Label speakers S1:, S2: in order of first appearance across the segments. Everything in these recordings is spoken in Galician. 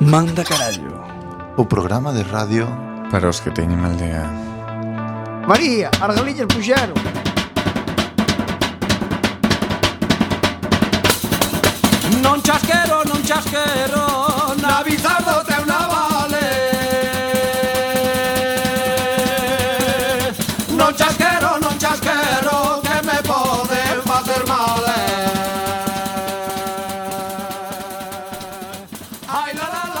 S1: Manda carallo
S2: O programa de radio
S3: Para os que teñen aldea
S4: María, as galiñas puxeron
S5: Non chasquero, non chasquero Na bizardo teu navale Non chasquero, non chasquero Que me poden facer mal Ai, la, la, la.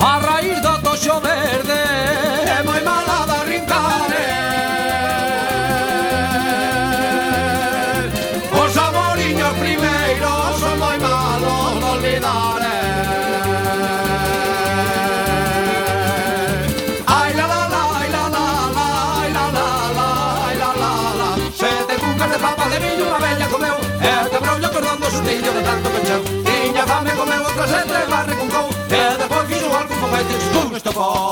S5: A raíz do toxo verde É moi mala da rincare Os amoriños primeiros Son moi malos de olvidar eh. Ai la la la, ai la la la Ai la la la, ai la la la Sete cucas de papa de millo Unha bella comeu E te brollo cordando sustillo de tanto pecheu Tiña fame comeu outra sete e barre con cou E depois fixo algo foguetes con estopou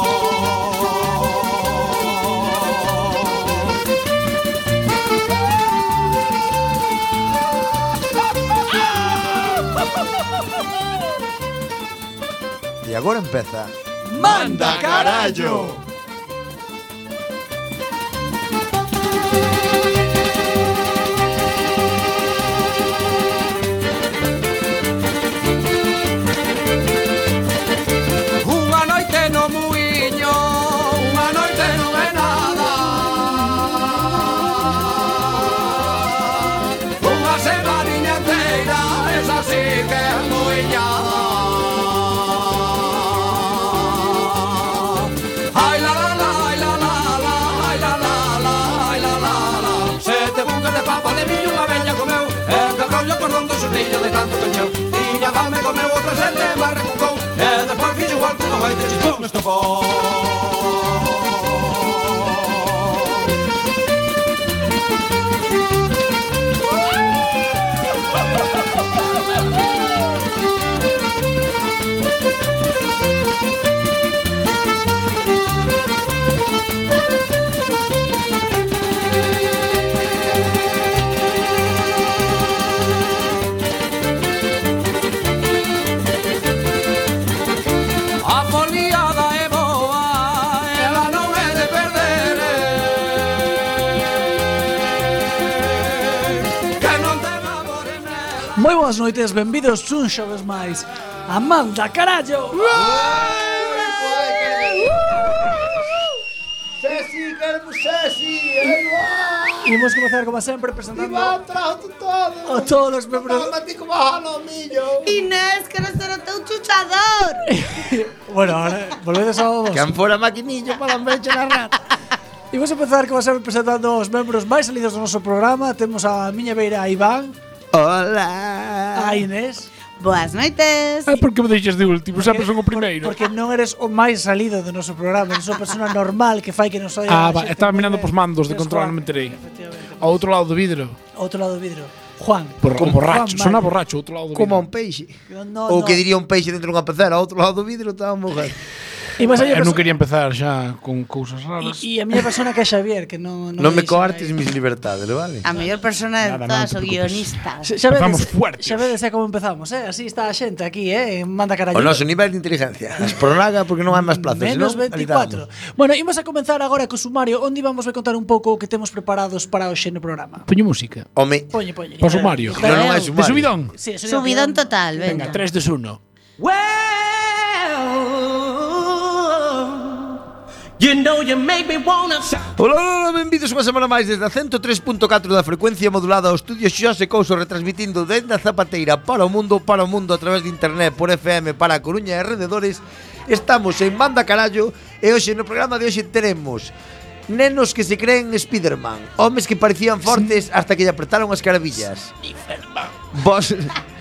S4: E agora empeza
S5: Manda carallo! Unha noite no muiño, unha noite non é nada Unha semaniña inteira, esa sí que é muiñada Ai la la la, ai la la la, ai la la la, ai la la la Sete bucas de papa de millo unha veña comeu E que rollo cordón do xurrillo de tanto cancheu Tiña fame comeu outra sete e barra cucou E despois fixo igual que non vai ter chispón estofón A foliada é boa, ela non é de perder eh. Que non ten amor en ela
S1: Moi boas noites, benvidos un xoves máis A Manda carallo
S6: Ceci, queremos Ceci!
S1: Imos comezar como sempre presentando
S6: Iván, trajo todo!
S1: a todos os membros
S6: Toma ti como jalomillo!
S7: Inés, que non será teu chuchador.
S1: Bueno, ahora volvedes ao vos
S4: fora maquinillo para meche na rata
S1: Imos empezar como sempre presentando os membros máis salidos do noso programa Temos a miña beira a Iván
S4: Hola
S1: A Inés
S7: Boas noites.
S8: Ah, por que me deixas de último? Sempre Ah, son o primeiro.
S1: Porque non eres o máis salido do noso programa Eres unha persona normal que fai que nos oia
S8: Ah,
S1: a
S8: va,
S1: xente
S8: estaba mirando
S1: moi
S8: pos mandos de
S1: Temos
S8: control,
S1: Juan,
S8: non me enterei.
S1: efectivamente.
S8: Ao outro lado do vidro.
S1: Outro lado do vidro Juan
S8: Por,
S1: Juan
S8: borracho,
S1: Mario.
S8: sona borracho, outro lado do vidro.
S4: Como un peixe
S1: No, no,
S4: Ou que
S1: no.
S4: diría un peixe dentro dunha pecera Ao outro lado do vidro estaba mojado
S1: Imos E a
S8: Eu
S1: perso-
S8: non quería empezar xa con cousas raras.
S1: E, e a miña persona que é Xavier, que non
S4: Non me
S1: deixa aí.
S4: coartes mis libertades, vale?
S7: A mellor persona de
S8: Nada, nada,
S7: todas
S8: non te
S7: o
S8: preocupes.
S7: guionista.
S1: Xa- Xa
S8: Empezamos
S1: vedes,
S8: fuertes.
S1: xa vedes é como empezamos, eh? Así está a xente aquí, eh? Manda carallo.
S4: O noso nivel de inteligencia Espronaga porque non hai máis plazas
S1: Menos
S4: senón
S1: 24.
S4: alitamos.
S1: Bueno, imos a comenzar agora co sumario onde vamos a contar un pouco o que temos preparados para hoxe no programa.
S8: Poño música.
S4: Home,
S1: Poñe, poñe.
S8: Para o sumario.
S4: non, non hai
S8: De
S4: sumario
S8: subidón.
S1: Sí, eso era un-
S7: Subidón total,
S8: Venga,
S7: venga.
S8: 3, 2, 1.
S5: Well, you know you make me wanna shout.
S4: Ola, ola, benvidos unha semana máis desde a 103.4 da frecuencia modulada ao estudio Xose Couso retransmitindo desde a Zapateira para o mundo, para o mundo a través de internet por FM para a Coruña e arredores Estamos en Manda Carallo e hoxe no programa de hoxe teremos nenos que se creen Spiderman, homes que parecían fortes hasta que lle apretaron as carabillas. Vos,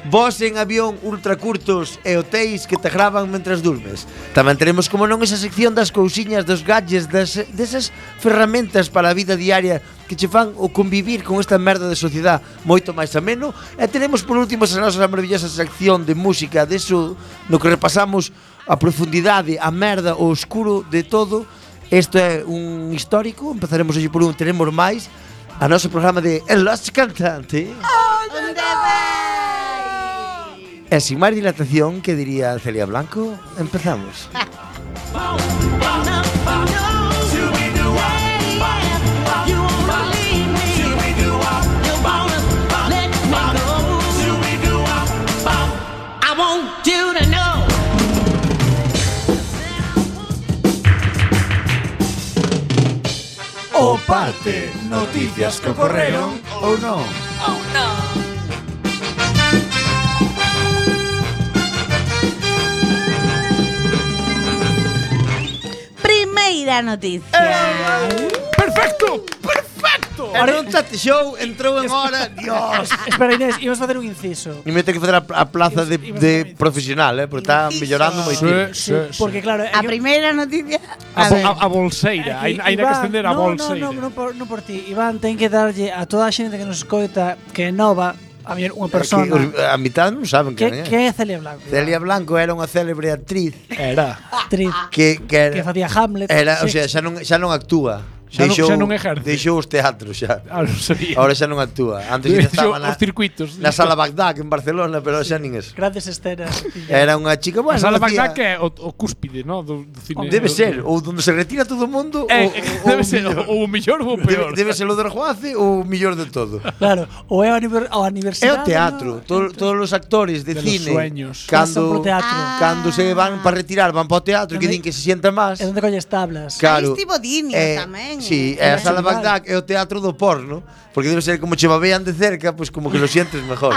S4: vos en avión ultracurtos e hotéis que te graban mentras durmes. Tamén teremos como non esa sección das cousiñas, dos gadgets, das, desas ferramentas para a vida diaria que che fan o convivir con esta merda de sociedade moito máis ameno. E teremos por último esa nosa maravillosa sección de música, deso no que repasamos a profundidade, a merda, o oscuro de todo. Isto é un histórico, empezaremos hoxe por un, teremos máis a noso programa de El Lost Cantante.
S7: ¿Dónde vai?
S4: E sin máis dilatación, que diría Celia Blanco, empezamos.
S2: O parte, noticias que ocorreron ou non.
S7: Primeira noticia.
S8: Eh, ¡Perfecto! ¡Perfecto!
S4: E non tate show, entrou en hora, dios.
S1: Espera, Inés, íbamos facer un inciso.
S4: E me ten que fazer a, a plaza de, de profesional, eh, porque está mellorando moi
S8: Sí, sí, sí.
S1: Porque claro, eh,
S7: A
S1: eu-
S7: primeira noticia.
S8: A,
S7: A ver.
S8: a, a bolseira,
S1: Aquí,
S8: hai, hai que
S1: Iván,
S8: ascender a
S1: no,
S8: bolseira.
S1: No, no, no, por, no por ti. Iván, ten que darlle a toda a xente que nos escoita que é nova, a mellor unha persona
S4: Que, a mitad non saben
S1: que,
S4: que, que,
S1: que é
S4: é.
S1: Celia Blanco.
S4: Celia Blanco era unha célebre actriz
S8: Era.
S1: Actriz
S4: que, que era,
S1: que facía Hamlet.
S4: Ah. era, o
S1: Shakespeare.
S4: sea, xa non, xa non actúa.
S8: Xa non- xa non ejerce.
S4: Deixou os teatros xa.
S8: Ah, non sabía.
S4: Ahora xa non actúa. Antes xa estaba
S8: Deixou
S4: na,
S8: os circuitos.
S4: na sala Bagdad en Barcelona, pero xa nin eso.
S1: Grandes escenas.
S4: Era unha chica, bueno,
S8: a sala
S4: facía-
S8: Bagdad que é o, o cúspide, no? Do, do cine.
S4: Debe ser, ou donde se retira todo o mundo
S8: Eh,
S4: ou, ou,
S8: debe
S4: ou
S8: ser
S4: mellor.
S8: o, o mellor ou o peor.
S4: Debe, debe ser o do Rajoace ou o mellor de todo
S1: Claro, ou é o aniver- a
S4: É
S1: universidade.
S4: o teatro,
S1: no?
S4: to, todos os actores de,
S8: De los
S4: cine
S8: sueños.
S1: Pasan
S4: Cando,
S1: polo teatro.
S4: cando se van para retirar van para o teatro que
S1: Donde-
S4: din que se sienta máis
S1: É onde colles tablas.
S4: Claro.
S7: Aí estivo Dinio tamén,
S4: Sí, é
S7: eh,
S4: a sala
S1: tamén.
S4: Bagdad é o teatro do porno, porque debe ser como che babean de cerca, pois pues como que lo sientes mejor.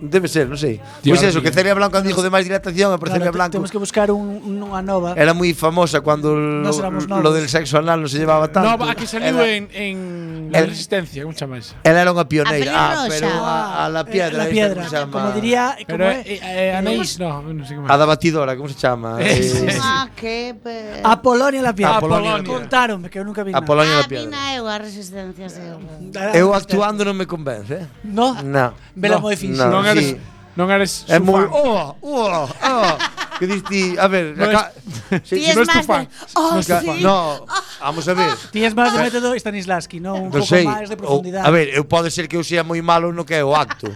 S4: debe ser, non sei.
S8: Dios
S4: Pois pues eso,
S8: mío.
S4: que Celia Blanco dijo de máis dilatación, pero
S1: Claro,
S4: Celia
S1: te-
S4: Blanco
S1: Temos que buscar un, un- unha nova.
S4: era moi famosa cando lo,
S1: Nós éramos novos.
S4: lo del sexo anal non se llevaba tanto.
S8: No, a que saliu
S4: Era-
S8: en, en La
S4: Era-
S8: Resistencia, un chamais.
S4: Ela era unha
S7: A
S4: pioneira, ah,
S7: Pelirroxa.
S4: pero a, a la piedra,
S1: Eh, la
S4: esta
S1: piedra.
S4: como se llama?
S1: Como diría, como
S8: Pero
S1: é?
S8: eh, eh, Anaís, no, non sei como
S4: a da batidora, como se chama?
S8: Eh, sí,
S4: Eh,
S7: Ah, que pe-
S1: A Polonia la piedra.
S8: Apolonia.
S1: Contaronme que eu nunca vi
S4: a
S1: nada. Ah,
S4: Polonia da
S7: Ah,
S4: piedra.
S7: vina eu a resistencia seu.
S4: Eu actuando non me convence, eh?
S1: No,
S4: No.
S1: eh. vela
S8: No,
S1: moi finxida.
S8: Non
S4: No,
S8: eres,
S4: sí.
S8: non eres
S4: É
S8: su
S4: moi
S8: fan.
S4: oh, oh, oh. que dis ti, a ver,
S8: No
S4: acá,
S7: Ti
S8: si
S7: es
S8: no es tu
S7: máis
S8: fan,
S7: de... Oh,
S8: no es tu
S7: sí.
S4: ca- no, vamos a ver.
S1: Ti es máis de método Stanislavski, non? Un
S4: Non
S1: pouco
S4: sei.
S1: máis de
S4: ou-
S1: profundidade.
S4: a ver, eu pode ser que eu sea moi malo no que é o acto,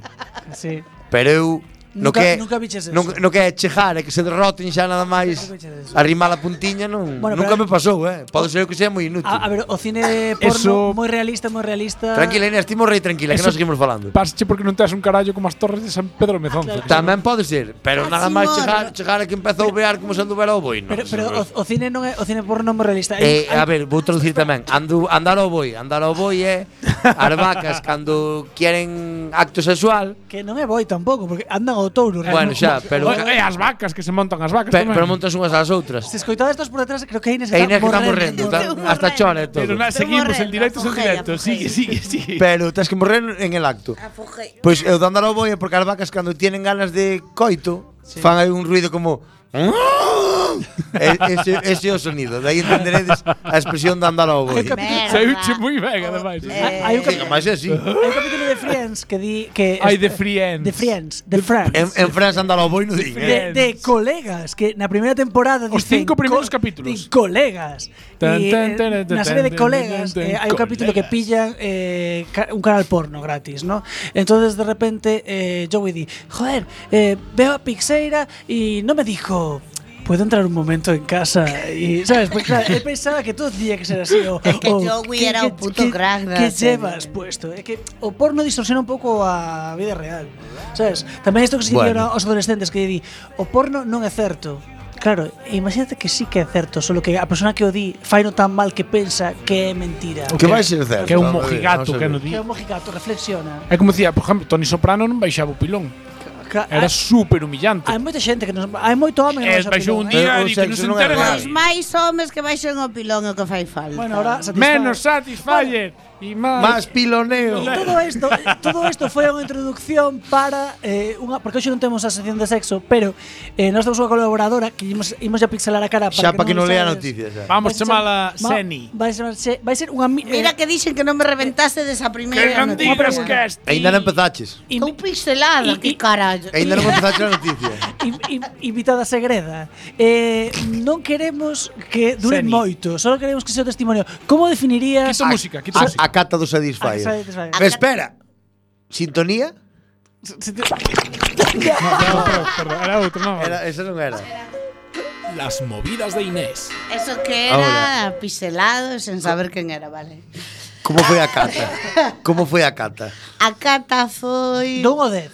S1: Sí.
S4: pero eu no
S1: Nunca-
S4: que é-
S1: nunca viches eso.
S4: No, no que é chejar, é que se derroten xa nada máis.
S1: Nunca viches eso.
S4: Arrimar a puntiña non,
S1: Bueno,
S4: nunca
S1: pero-
S4: me pasou, eh. Pode ser que sea moi inútil.
S1: A, a ver, o cine porno
S8: Eso-
S1: moi realista, moi realista.
S4: Tranquila, Inés, timo rei tranquila, que
S8: Eso-
S4: nós seguimos falando.
S8: Pasche porque non te das un carallo como as torres de San Pedro Mezonza. que
S4: Tamén pode ser, pero
S7: Ah,
S4: nada
S7: sí,
S4: máis
S7: morro.
S4: chegar, chegar a que empezou a vear como se anduvera o boi, non?
S1: Pero, pero o, o cine non é o cine porno moi realista.
S4: Eh, a ver, vou traducir tamén. Andu, andar ao boi, andar ao boi é as vacas cando quieren acto sexual,
S1: que non é boi tampouco, porque andan ao touro.
S4: bueno,
S1: realmente.
S4: xa, pero
S8: Pero eh, as vacas que se montan as vacas
S4: pe,
S8: tamén.
S4: pero montas unhas ás outras.
S1: Se escoitades dos por detrás, creo que a Inés
S4: E Inés que está morrendo,
S1: morrendo.
S4: está, hasta chora e todo.
S8: Pero na,
S7: Estoy
S8: seguimos el
S7: morrendo,
S8: directo, es el
S7: afogella,
S8: directo. Sigue, sigue, sigue.
S4: Pero tens que morrer en el acto.
S7: Afogei.
S4: Pois eu de andar ao boi é porque as vacas cando tienen ganas de coito, fan aí un ruido como "Ah!" E- ese, ese é o sonido, de aí entenderedes a expresión de andar ao boi.
S7: Merda.
S8: Saiuche moi ben, ademais.
S7: Eh,
S1: Hai un
S4: Sí,
S1: capítulo,
S4: máis é así.
S1: hai un capítulo de Friends que di que
S8: Ai, de Friends.
S1: de Friends, de Friends.
S4: En, en Francia andar ao boi non din,
S1: de,
S4: eh.
S1: de colegas que na primeira temporada
S8: Os
S1: dicen
S8: cinco primeiros
S1: co-
S8: capítulos.
S1: din colegas
S8: Tan,
S1: E, eh,
S8: tan, tan, tan,
S1: na serie de
S8: tan,
S1: colegas
S8: tan,
S1: eh, hai
S8: tan,
S1: un
S8: colegas.
S1: capítulo que pillan eh, ca- un canal porno gratis no entonces de repente eh, Joey di joder eh, veo a Pixeira y no me dijo ¿Puedo entrar un momento en casa? Y, ¿sabes? Pues claro, él pensaba que todo tenía que ser así. O,
S7: Es que
S1: o,
S7: Joey
S1: ¿qué-
S7: era
S1: qué-
S7: un puto
S1: qué-
S7: crack de la
S1: ¿Qué
S7: serie?
S1: llevas puesto? Es que o porno distorsiona un pouco a vida real. Sabes? Tamén isto que se bueno.
S4: Bueno.
S1: aos adolescentes que di, o porno non é certo. Claro, e imagínate que sí que é certo, solo que a persona que o di faino tan mal que pensa que é mentira.
S4: Que vai ser certo.
S8: Que é un
S4: vamos a ver,
S8: mojigato
S4: vamos a
S8: que
S4: ver.
S8: non di.
S1: Que é un mojigato, reflexiona.
S8: É como dicía, por exemplo, Tony Soprano non baixaba o pilón.
S1: Ca-
S8: Era
S1: hai-
S8: super humillante.
S1: Hai moita xente que non hai moito home que
S8: E
S1: non sabe
S8: baixou un
S1: pilón, eh.
S8: día
S4: O
S8: e di que non
S4: sexo
S8: se
S4: non é
S8: entere
S4: real.
S7: Pois
S8: nadie.
S7: máis homes que baixen o pilón é o que fai falta.
S1: Bueno, ahora satisfaz-
S8: Menos satisfyer e
S4: Más
S8: máis.
S4: piloneo.
S1: Todo isto, todo isto foi unha introducción para eh, unha porque hoxe non temos a sección de sexo, pero eh, nós temos unha colaboradora que imos, imos a pixelar a cara para
S4: Xa para que non lea
S1: sabes.
S4: noticias. xa.
S8: Vamos
S9: Pues
S1: Vai
S8: chamala
S1: chamar-
S8: Seni.
S1: Vai ser vai ser unha mi-
S7: Mira
S1: eh,
S7: que dixen que non me reventaste desa primeira
S8: Que non
S7: noticia.
S8: digas que esti.
S4: Ainda non empezaches.
S7: Estou pixelada,
S1: Y-
S7: que carallo.
S4: Ainda non empezaches a noticia.
S1: i- i- invitada segreda. Eh, non queremos que dure
S8: Seni.
S1: moito, só queremos que sea o testimonio. Como definirías
S8: Quita música, quita
S4: A,
S8: música.
S4: a cata do
S1: Ah, que
S4: Satisfyer.
S1: satisfyer.
S4: Pero espera. Sintonía?
S1: Ah,
S8: Ah, Perdón, era outro, non.
S4: Era, esa non era.
S9: Las movidas de Inés.
S7: Eso que era pixelado sen saber quen era, vale.
S4: Como foi a cata? Como foi a cata?
S7: A cata foi
S1: Dou o 10.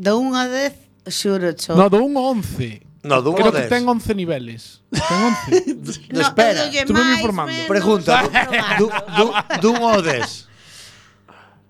S7: de 1 a 10, xuro cho.
S8: No, do 1 ao 11.
S4: No, dun ao
S8: Creo
S4: dez.
S8: que ten 11 niveles. Ten 11.
S4: No, espera,
S7: eu doulle
S8: tú veme
S7: máis,
S8: informando.
S7: menos,
S4: Pregunta.
S7: vou probando.
S4: Du, du, dun ou des?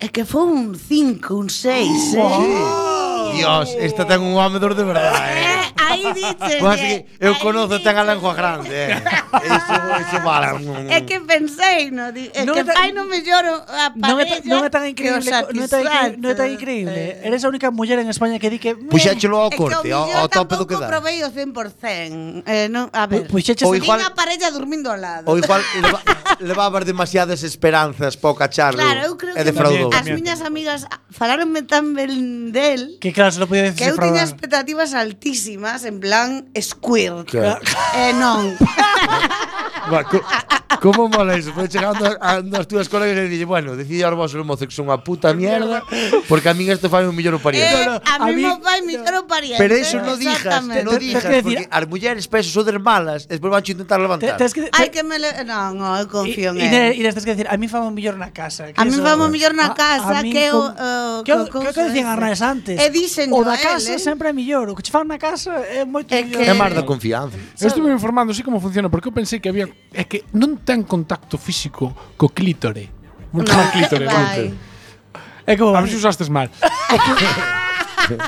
S7: É que foi un 5, un 6, eh?
S4: Dios, esta ten un homedor de verdade, eh.
S7: Eh, aí dices.
S4: Pois así, eu
S7: aí
S4: conozo
S7: dices.
S4: ten a lengua grande, eh. Eso, eso vale. mm,
S7: É que pensei, no, di, é
S1: Non
S7: que
S1: é tan-
S7: fai non me lloro a parella.
S1: Non é, ta- non é tan
S7: que
S1: increíble,
S7: o
S1: co- non é tan, incre- non é tan
S7: satisfaz.
S1: increíble.
S7: Eh,
S1: Eres a única muller en España que di que
S4: Puxéchelo ao
S7: é que
S4: corte,
S7: o
S4: ao, ao
S7: millor
S4: tope do que
S7: tampouco
S4: dá.
S7: probei o 100%. Eh, non, a
S8: Pues,
S7: ver.
S1: puxeches
S4: Ou
S1: a-
S4: igual-
S7: Igual, a parella durmindo ao lado.
S4: Ou igual leva, levabas demasiadas esperanzas para o cacharro
S7: claro, eu creo
S4: e
S7: que
S4: defraudou.
S7: as miñas amigas falaronme tan ben del
S1: que claro, se lo podía decir.
S7: que eu tiña
S1: defraudado.
S7: expectativas altísimas en plan squirt.
S4: Claro.
S7: Eh, non.
S4: Va, co- Como mola iso? Foi chegando a, a, as túas colegas e dille, bueno, decide aos vosos mozos que son unha puta mierda, porque a min isto fai un millón o
S7: Eh,
S4: pariente.
S7: a
S1: a
S7: mí
S1: mí-
S7: me vai mi coro pariente.
S4: Pero eso no dijas,
S7: Exactamente.
S4: no
S1: Tens
S4: dijas,
S1: que decir-
S4: porque as mulleres pesos son des malas, e despois van intentar
S1: Te-
S4: levantar.
S1: Tens que
S7: Hai que me le... Non, no, eu
S1: I-
S7: confío en
S1: Inés,
S7: él.
S1: Inés, tens que decir, a mí famo mellor na casa. que
S7: A mí
S1: eso-
S7: vamos mellor
S1: A-
S7: na casa
S1: a min
S7: que o...
S1: con-
S7: o-
S1: Que o
S7: co-
S1: que,
S7: cousa
S1: que decían
S7: esa.
S1: as antes.
S7: E dixen
S1: o da
S7: a
S1: casa
S7: él, eh.
S1: sempre é mellor, o que che fan na casa é moito
S7: É
S1: mellor.
S7: que-
S4: É máis da confianza.
S8: Eu estuve informando así como funciona, porque eu pensei que había é que non ten contacto físico co clítore. Vou chamar clítore.
S7: Vai.
S8: vale.
S1: É como
S8: A ver se usastes mal.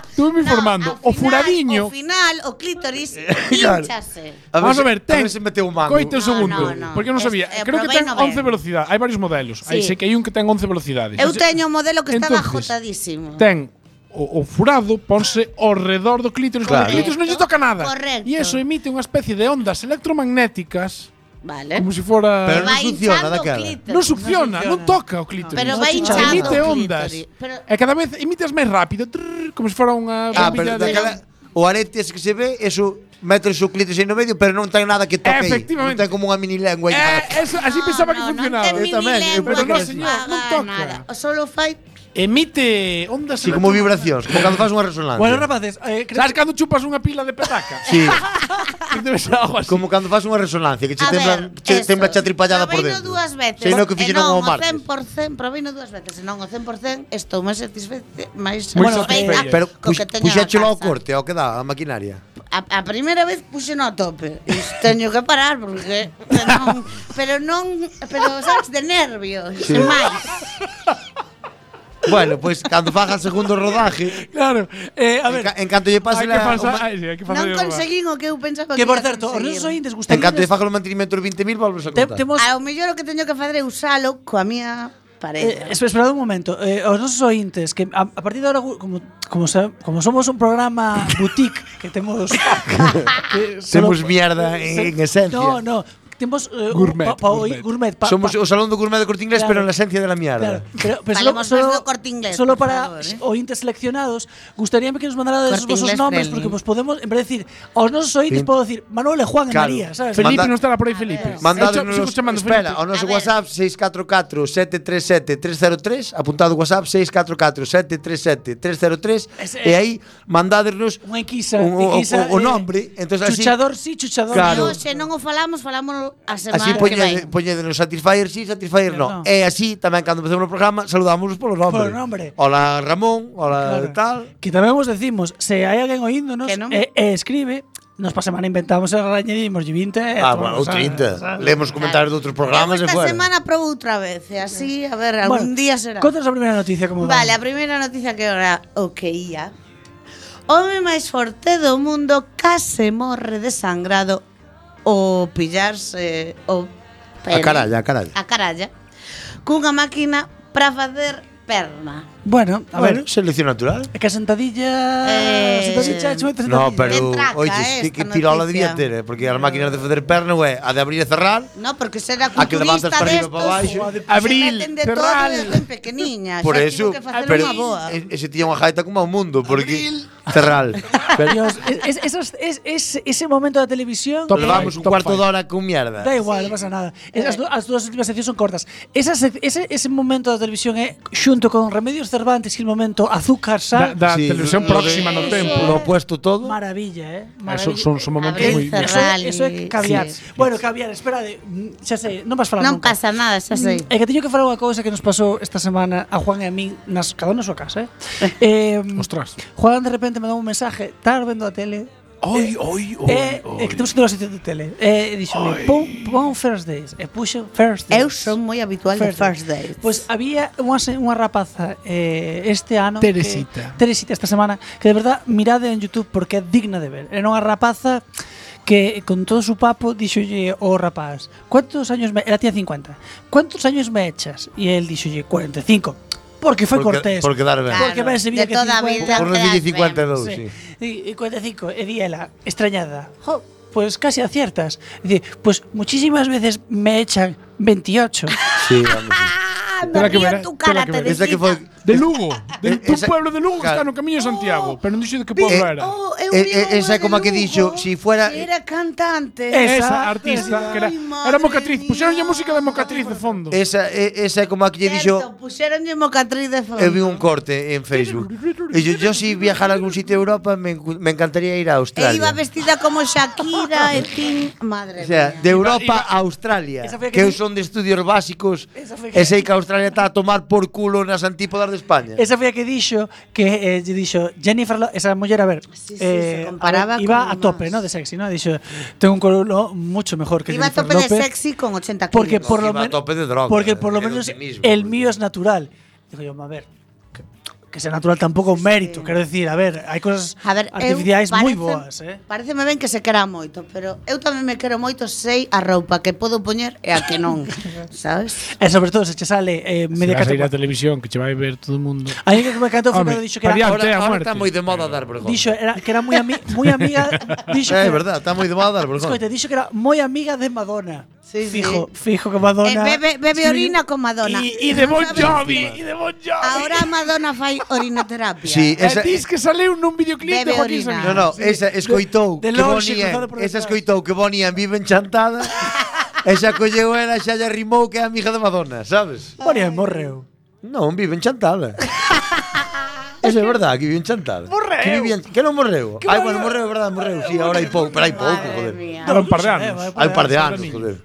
S8: Estuve informando,
S7: Ao
S8: o furadiño,
S7: Final, ao final, o clítoris hinchase.
S8: Vamos a ver,
S4: A
S8: ten.
S4: ver se meteu un mango.
S7: No,
S8: coito
S7: no,
S8: segundo,
S7: no.
S8: porque eu non
S7: Es-
S8: sabía.
S7: eh,
S8: Creo que
S7: probei
S8: ten
S7: no ver.
S8: 11 velocidades, hai varios modelos. Aí
S7: Sí.
S8: sei que hai un que ten 11 velocidades.
S7: Eu teño un modelo que estaba
S8: Entonces,
S7: ajotadísimo.
S8: ten o, o furado ponse ao redor do clítoris, claro.
S4: Claro.
S8: o clítoris non lle toca nada.
S7: Correcto.
S8: E eso emite unha especie de ondas electromagnéticas,
S7: Vale.
S8: como se fora
S4: Pero non
S7: Vai
S4: succiona
S7: hinchando o
S4: daquela.
S7: clítoris.
S8: non succiona, non
S1: funciona.
S8: toca o clítoris.
S7: Pero
S1: No
S7: vai
S1: chicha,
S7: hinchando
S8: emite
S7: o
S8: ondas.
S7: clítoris. Pero
S8: E cada vez emites máis rápido, trrr, como se fora unha
S4: Ah,
S8: bombilla
S4: pero
S8: de-
S4: daquela, o arete ese que se ve, eso mete o clítoris aí no medio, pero non ten nada que toque aí. Non
S8: Efectivamente.
S4: ten como unha mini lengua aí.
S8: Eh, eso, así pensaba que
S7: no, Non Ah,
S8: funcionaba.
S7: ten mini
S4: tamén, eu
S7: lengua
S8: pero no,
S7: que
S8: señor,
S7: faga
S8: non toca.
S7: Nada. O solo fai
S8: Emite ondas
S4: Sí, como vibracións, como cando fas unha resonancia.
S1: Bueno, rapaces, eh, cre-
S8: Sabes cando chupas unha pila de petaca?
S4: Sí,
S8: Debe ser algo así.
S4: como cando fas unha resonancia, que che tembla, che,
S7: eso,
S4: tembla che atripallada por
S7: proveino
S4: dentro.
S7: dúas veces. Eh,
S4: Sei no que
S7: e
S4: fixeron
S7: non,
S4: ao martes.
S7: 100%, proveino dúas veces, e non o 100%, estou máis satisfeita, máis
S8: Moi
S7: satisfeita
S8: satisfeita.
S4: Pero
S7: co que teño na
S4: puxéchelo ao
S7: casa.
S4: corte, ao que dá, a maquinaria.
S7: A, a primeira vez puxeno a tope. Isto teño que parar porque pero non, pero non, pero sabes de nervios, sí. máis.
S4: Bueno, pois cando fagas segundo rodaje,
S1: claro. Eh, a
S4: en,
S1: ver,
S4: ca- en canto lle pase
S8: Hai que
S4: la, o
S8: pasar,
S4: ma-
S8: ai, sí, hai que pasar.
S7: Non conseguín o que eu pensaba que
S1: que por
S7: ia
S1: certo, os
S7: conseguir.
S1: nosos ointes
S4: en canto
S1: gustaríanos
S4: lle faga o mantenimento dos 20.000 volves a
S1: te-
S4: contar.
S1: temos
S7: Ao mellor o que teño que fazer é usalo coa mía
S1: Eh,
S7: parella.
S1: espe- esperad un momento, eh, os nosos ointes que a, a partir de agora gu- como como, sa- como somos un programa boutique que temos que solo-
S4: Temos mierda en, en esencia.
S1: No, no, temos eh, un-
S8: Gourmet,
S1: pa- pa-
S8: gourmet.
S1: gourmet, pa-
S4: Somos
S1: pa-
S4: o salón do gourmet do corte inglés,
S1: Claro.
S4: pero na esencia de la
S1: Claro,
S4: mierda.
S1: pero, pero
S7: Falemos
S1: solo,
S7: más
S1: solo,
S7: do Corte Inglés,
S1: solo
S7: por
S1: para
S7: favor, eh.
S1: ointes seleccionados, gustaríame que nos mandara os
S7: Corte
S1: vosos
S7: Inglés
S1: nombres,
S7: friendly.
S1: porque vos podemos, en vez de decir, aos nosos ointes
S4: Sí.
S1: podo decir Manuel e Juan
S4: Claro.
S1: e María, sabes?
S8: Felipe
S4: Manda-
S8: non estará por aí, Felipe.
S4: Eh,
S8: Eu sigo
S4: Mandádenos
S8: chamando
S4: espera,
S8: Felipe.
S4: ao noso
S7: A ver.
S4: WhatsApp 644-737-303 Apuntado o WhatsApp 644-737-303
S1: Ese-
S4: E aí mandádenos
S1: Unha enquisa,
S4: un- o,
S1: enquisa, eh,
S4: o, o nombre Entonces, así,
S1: chuchador sí, chuchador
S4: Claro.
S1: no.
S7: Pero se non o falamos, falámoslo a semana
S4: así
S7: que vai.
S4: poñede, poñedenos Satisfyer sí, Satisfyer
S1: Pero no.
S4: no. E así tamén cando empecemos o programa Saludámonos polo nombre,
S1: Polo nombre.
S4: Ola Ramón, ola
S1: Claro.
S4: tal
S1: Que tamén vos decimos, se hai alguén oíndonos
S7: Que non.
S1: e, e escribe, nos pa semana inventamos e rañedimos e 20 e
S4: Ah,
S1: tomamos,
S4: bueno, ou
S1: sabes? eh,
S4: 30 Lemos comentarios de outros programas e
S7: Eu esta
S4: fuera
S7: semana probo outra vez, e así, a ver, algún
S1: Bueno,
S7: día será.
S1: Contanos a primeira noticia como
S7: Vale, a
S1: va.
S7: primeira noticia que era o que ia home máis forte do mundo case morre desangrado o pillarse o
S4: A
S7: pene.
S4: caralla, a caralla.
S7: A caralla. Cunha máquina para facer perna.
S1: Bueno, a
S4: bueno,
S1: ver.
S4: selección natural.
S1: É que a sentadilla...
S7: Eh,
S1: sentadilla, chumete,
S4: No,
S1: sentadilla.
S4: pero,
S7: De traca,
S4: oye,
S7: eh,
S4: sí que
S7: esta
S4: tirola
S7: noticia.
S4: debía ter, eh, porque as máquinas de facer perna, ué, a de abrir e cerrar,
S7: No, porque será
S4: A que levantas
S7: culturista
S4: para arriba e
S7: destos.
S4: para baixo.
S8: Abril,
S7: se meten de
S8: Ferral.
S7: todo desde pequeniña.
S4: por
S7: xa
S4: eso,
S7: tivo que facer
S4: pero
S7: unha boa.
S4: e- ese tiña unha jaita como ao mundo, porque cerral. Pero
S1: Dios, es- es- esas- es- es- ese momento da televisión...
S8: Top
S4: levamos un
S8: Top
S4: cuarto
S8: five.
S4: de hora con mierda.
S1: Da igual, non pasa nada. Esas do- as dúas últimas seccións son cortas. Esa sec- ese, ese momento da televisión é xunto con Remedios Cervantes e o momento Azúcar
S8: Da,
S1: Sal.
S8: da
S4: Sí, lo
S8: televisión
S4: de-
S8: próxima no tempo.
S4: Lo opuesto todo.
S1: Maravilla, eh?
S8: Eso,
S1: Maravilla.
S8: Ah, son, son momentos
S7: Abrir,
S8: muy...
S7: cerrar.
S1: Eso, é- eso é
S7: Rally,
S1: caviar.
S7: sí.
S1: Bueno, caviar, espera, de, mm, xa sei, non vas falar
S7: Non
S1: nunca. Mm, eh,
S7: pasa nada, xa sei.
S1: É que teño que falar unha cousa que nos pasou esta semana a Juan e a min, nas, cada un na súa casa, eh? eh
S8: Ostras.
S1: Juan de repente mandou un mensaje, estás vendo a tele,
S8: Oi, oi, oi,
S1: eh, é que temos que ter unha sección de tele. Eh, e dixo, pon, pon First Days. E puxo First Days.
S7: Eu son moi habitual de first dates.
S1: Pois Pues había unha, se- unha rapaza eh, este ano
S8: Teresita.
S1: que, Teresita esta semana Que de verdad mirade en Youtube porque é digna de ver Era unha rapaza que con todo su papo dixolle o rapaz Cuántos años me... Era tía 50 Cuántos años me echas? E el dixolle 45 Porque foi
S4: Porque-
S1: cortés
S4: porque dar ben.
S1: Porque ben se vía
S7: de
S1: que
S7: toda a
S1: 50.
S7: vida.
S4: Por non dicir 52,
S7: Dadas ben.
S4: sí.
S1: Sí. Y, y 45, e di ela, extrañada. Jo, pues casi aciertas. Dice, pues muchísimas veces me echan 28.
S4: Sí, vamos.
S7: Ah, me
S8: Terá que
S7: río
S8: ver,
S7: tu cara,
S8: terá que
S7: te
S8: ver.
S4: Esa que foi
S8: De Lugo, de,
S4: eh, Esa-
S8: un pueblo de Lugo que está
S4: claro.
S8: no camiño de Santiago, pero non dixo de que pueblo
S4: Eh,
S8: era.
S7: Oh, eu
S4: Eh,
S7: vi
S4: eh, esa é
S7: unha
S4: como a
S7: de
S4: que dixo,
S7: Lugo
S4: si fuera- Eh,
S7: que Era cantante.
S1: esa,
S8: Esa artista
S1: esa.
S8: que era,
S7: Ay, madre
S8: era mocatriz,
S7: mía.
S8: pusieron ya música de mocatriz de fondo.
S4: esa e- esa é como a que lle dixo
S7: Puxeronlle mocatriz de fondo.
S4: Eu vi un corte en Facebook. E yo, yo si viajara a algún sitio de Europa me, encu- me encantaría ir a
S7: E
S4: Australia.
S7: iba vestida como Shakira e tin...
S4: O
S7: Madre
S4: sea,
S7: mía.
S4: de Europa a Australia,
S1: Esa foi a
S4: que,
S1: que
S4: eu
S1: ti-
S4: son de estudios básicos,
S1: Esa foi a que-
S4: e sei que Australia está a tomar por culo nas antípodas de España.
S1: Esa foi a que dixo que eh, lle dixo Jennifer, Lo esa muller a ver,
S7: Sí, sí,
S1: eh,
S7: se
S1: a
S7: comparaba
S1: ver, iba
S7: con
S1: a tope,
S7: más.
S1: ¿no? De sexy, ¿no? Dixo, tengo un culo mucho mejor que
S7: Iba a
S1: Jennifer
S7: tope de
S1: López".
S7: sexy con 80 kilos.
S1: Porque por lo
S4: Iba a
S1: menos
S4: tope de droga,
S1: porque por lo
S4: era un
S1: menos
S4: cinismo,
S1: el
S4: porque-
S1: mío es natural. Digo yo, a ver, que, que sea natural tampoco un mérito, quiero decir, a ver, hay cosas
S7: A ver, eu
S1: artificiales muy
S7: parece-
S1: boas, eh.
S7: Pareceme ben que se quera moito, pero eu tamén me quero moito sei a roupa que podo poñer e a que non, sabes?
S1: E
S7: Eh,
S1: sobre todo se che sale eh, media
S8: vas a ir
S1: categoría.
S8: á televisión que che vai ver todo o mundo.
S1: A mí que me encantó fue
S8: Home,
S1: cuando dicho que era,
S8: Fabián.
S4: Ahora,
S8: Antes da
S4: ahora
S8: muerte.
S4: está moi de moda dar vergonha.
S1: dicho era que era muy, ami- muy amiga, dicho
S4: É
S1: que,
S4: Eh, verdad, está moi de moda dar vergonha.
S1: Escoite, dicho que era muy amiga de Madonna.
S7: Sí, sí.
S1: fijo, fijo que Madonna.
S7: Eh, bebe- bebe
S1: Sí.
S7: orina con Madonna.
S8: E de Bon Jovi, e de Bon Jovi.
S7: Ahora Madonna fai orinoterapia.
S4: Sí, esa,
S8: Esa, dis que saleu nun videoclip
S7: Bebe
S8: de
S7: orina.
S8: Joaquín Sabina.
S4: no, no, esa escoitou
S1: De- de
S4: que
S1: lonxe,
S4: Bonnie
S1: cruzado por
S4: Ann- esa
S1: detrás.
S4: escoitou que Bonnie Ann vive enchantada. esa colleu era xa lle rimou que é amiga de Madonna, sabes?
S1: Moría, morreu.
S4: Non, vive enchantada. Esa é verdad, que vive enchantada. Morreu. Que, vivía en- que non morreu? Ai, bueno, morreu, é verdad, morreu. Si, sí, ahora hai pouco, pero hai pouco,
S7: Madre
S4: joder.
S7: mía.
S8: Era un par de anos.
S1: Eh,
S4: Hai un par de
S8: Ahora
S4: anos,
S8: niño.
S4: joder.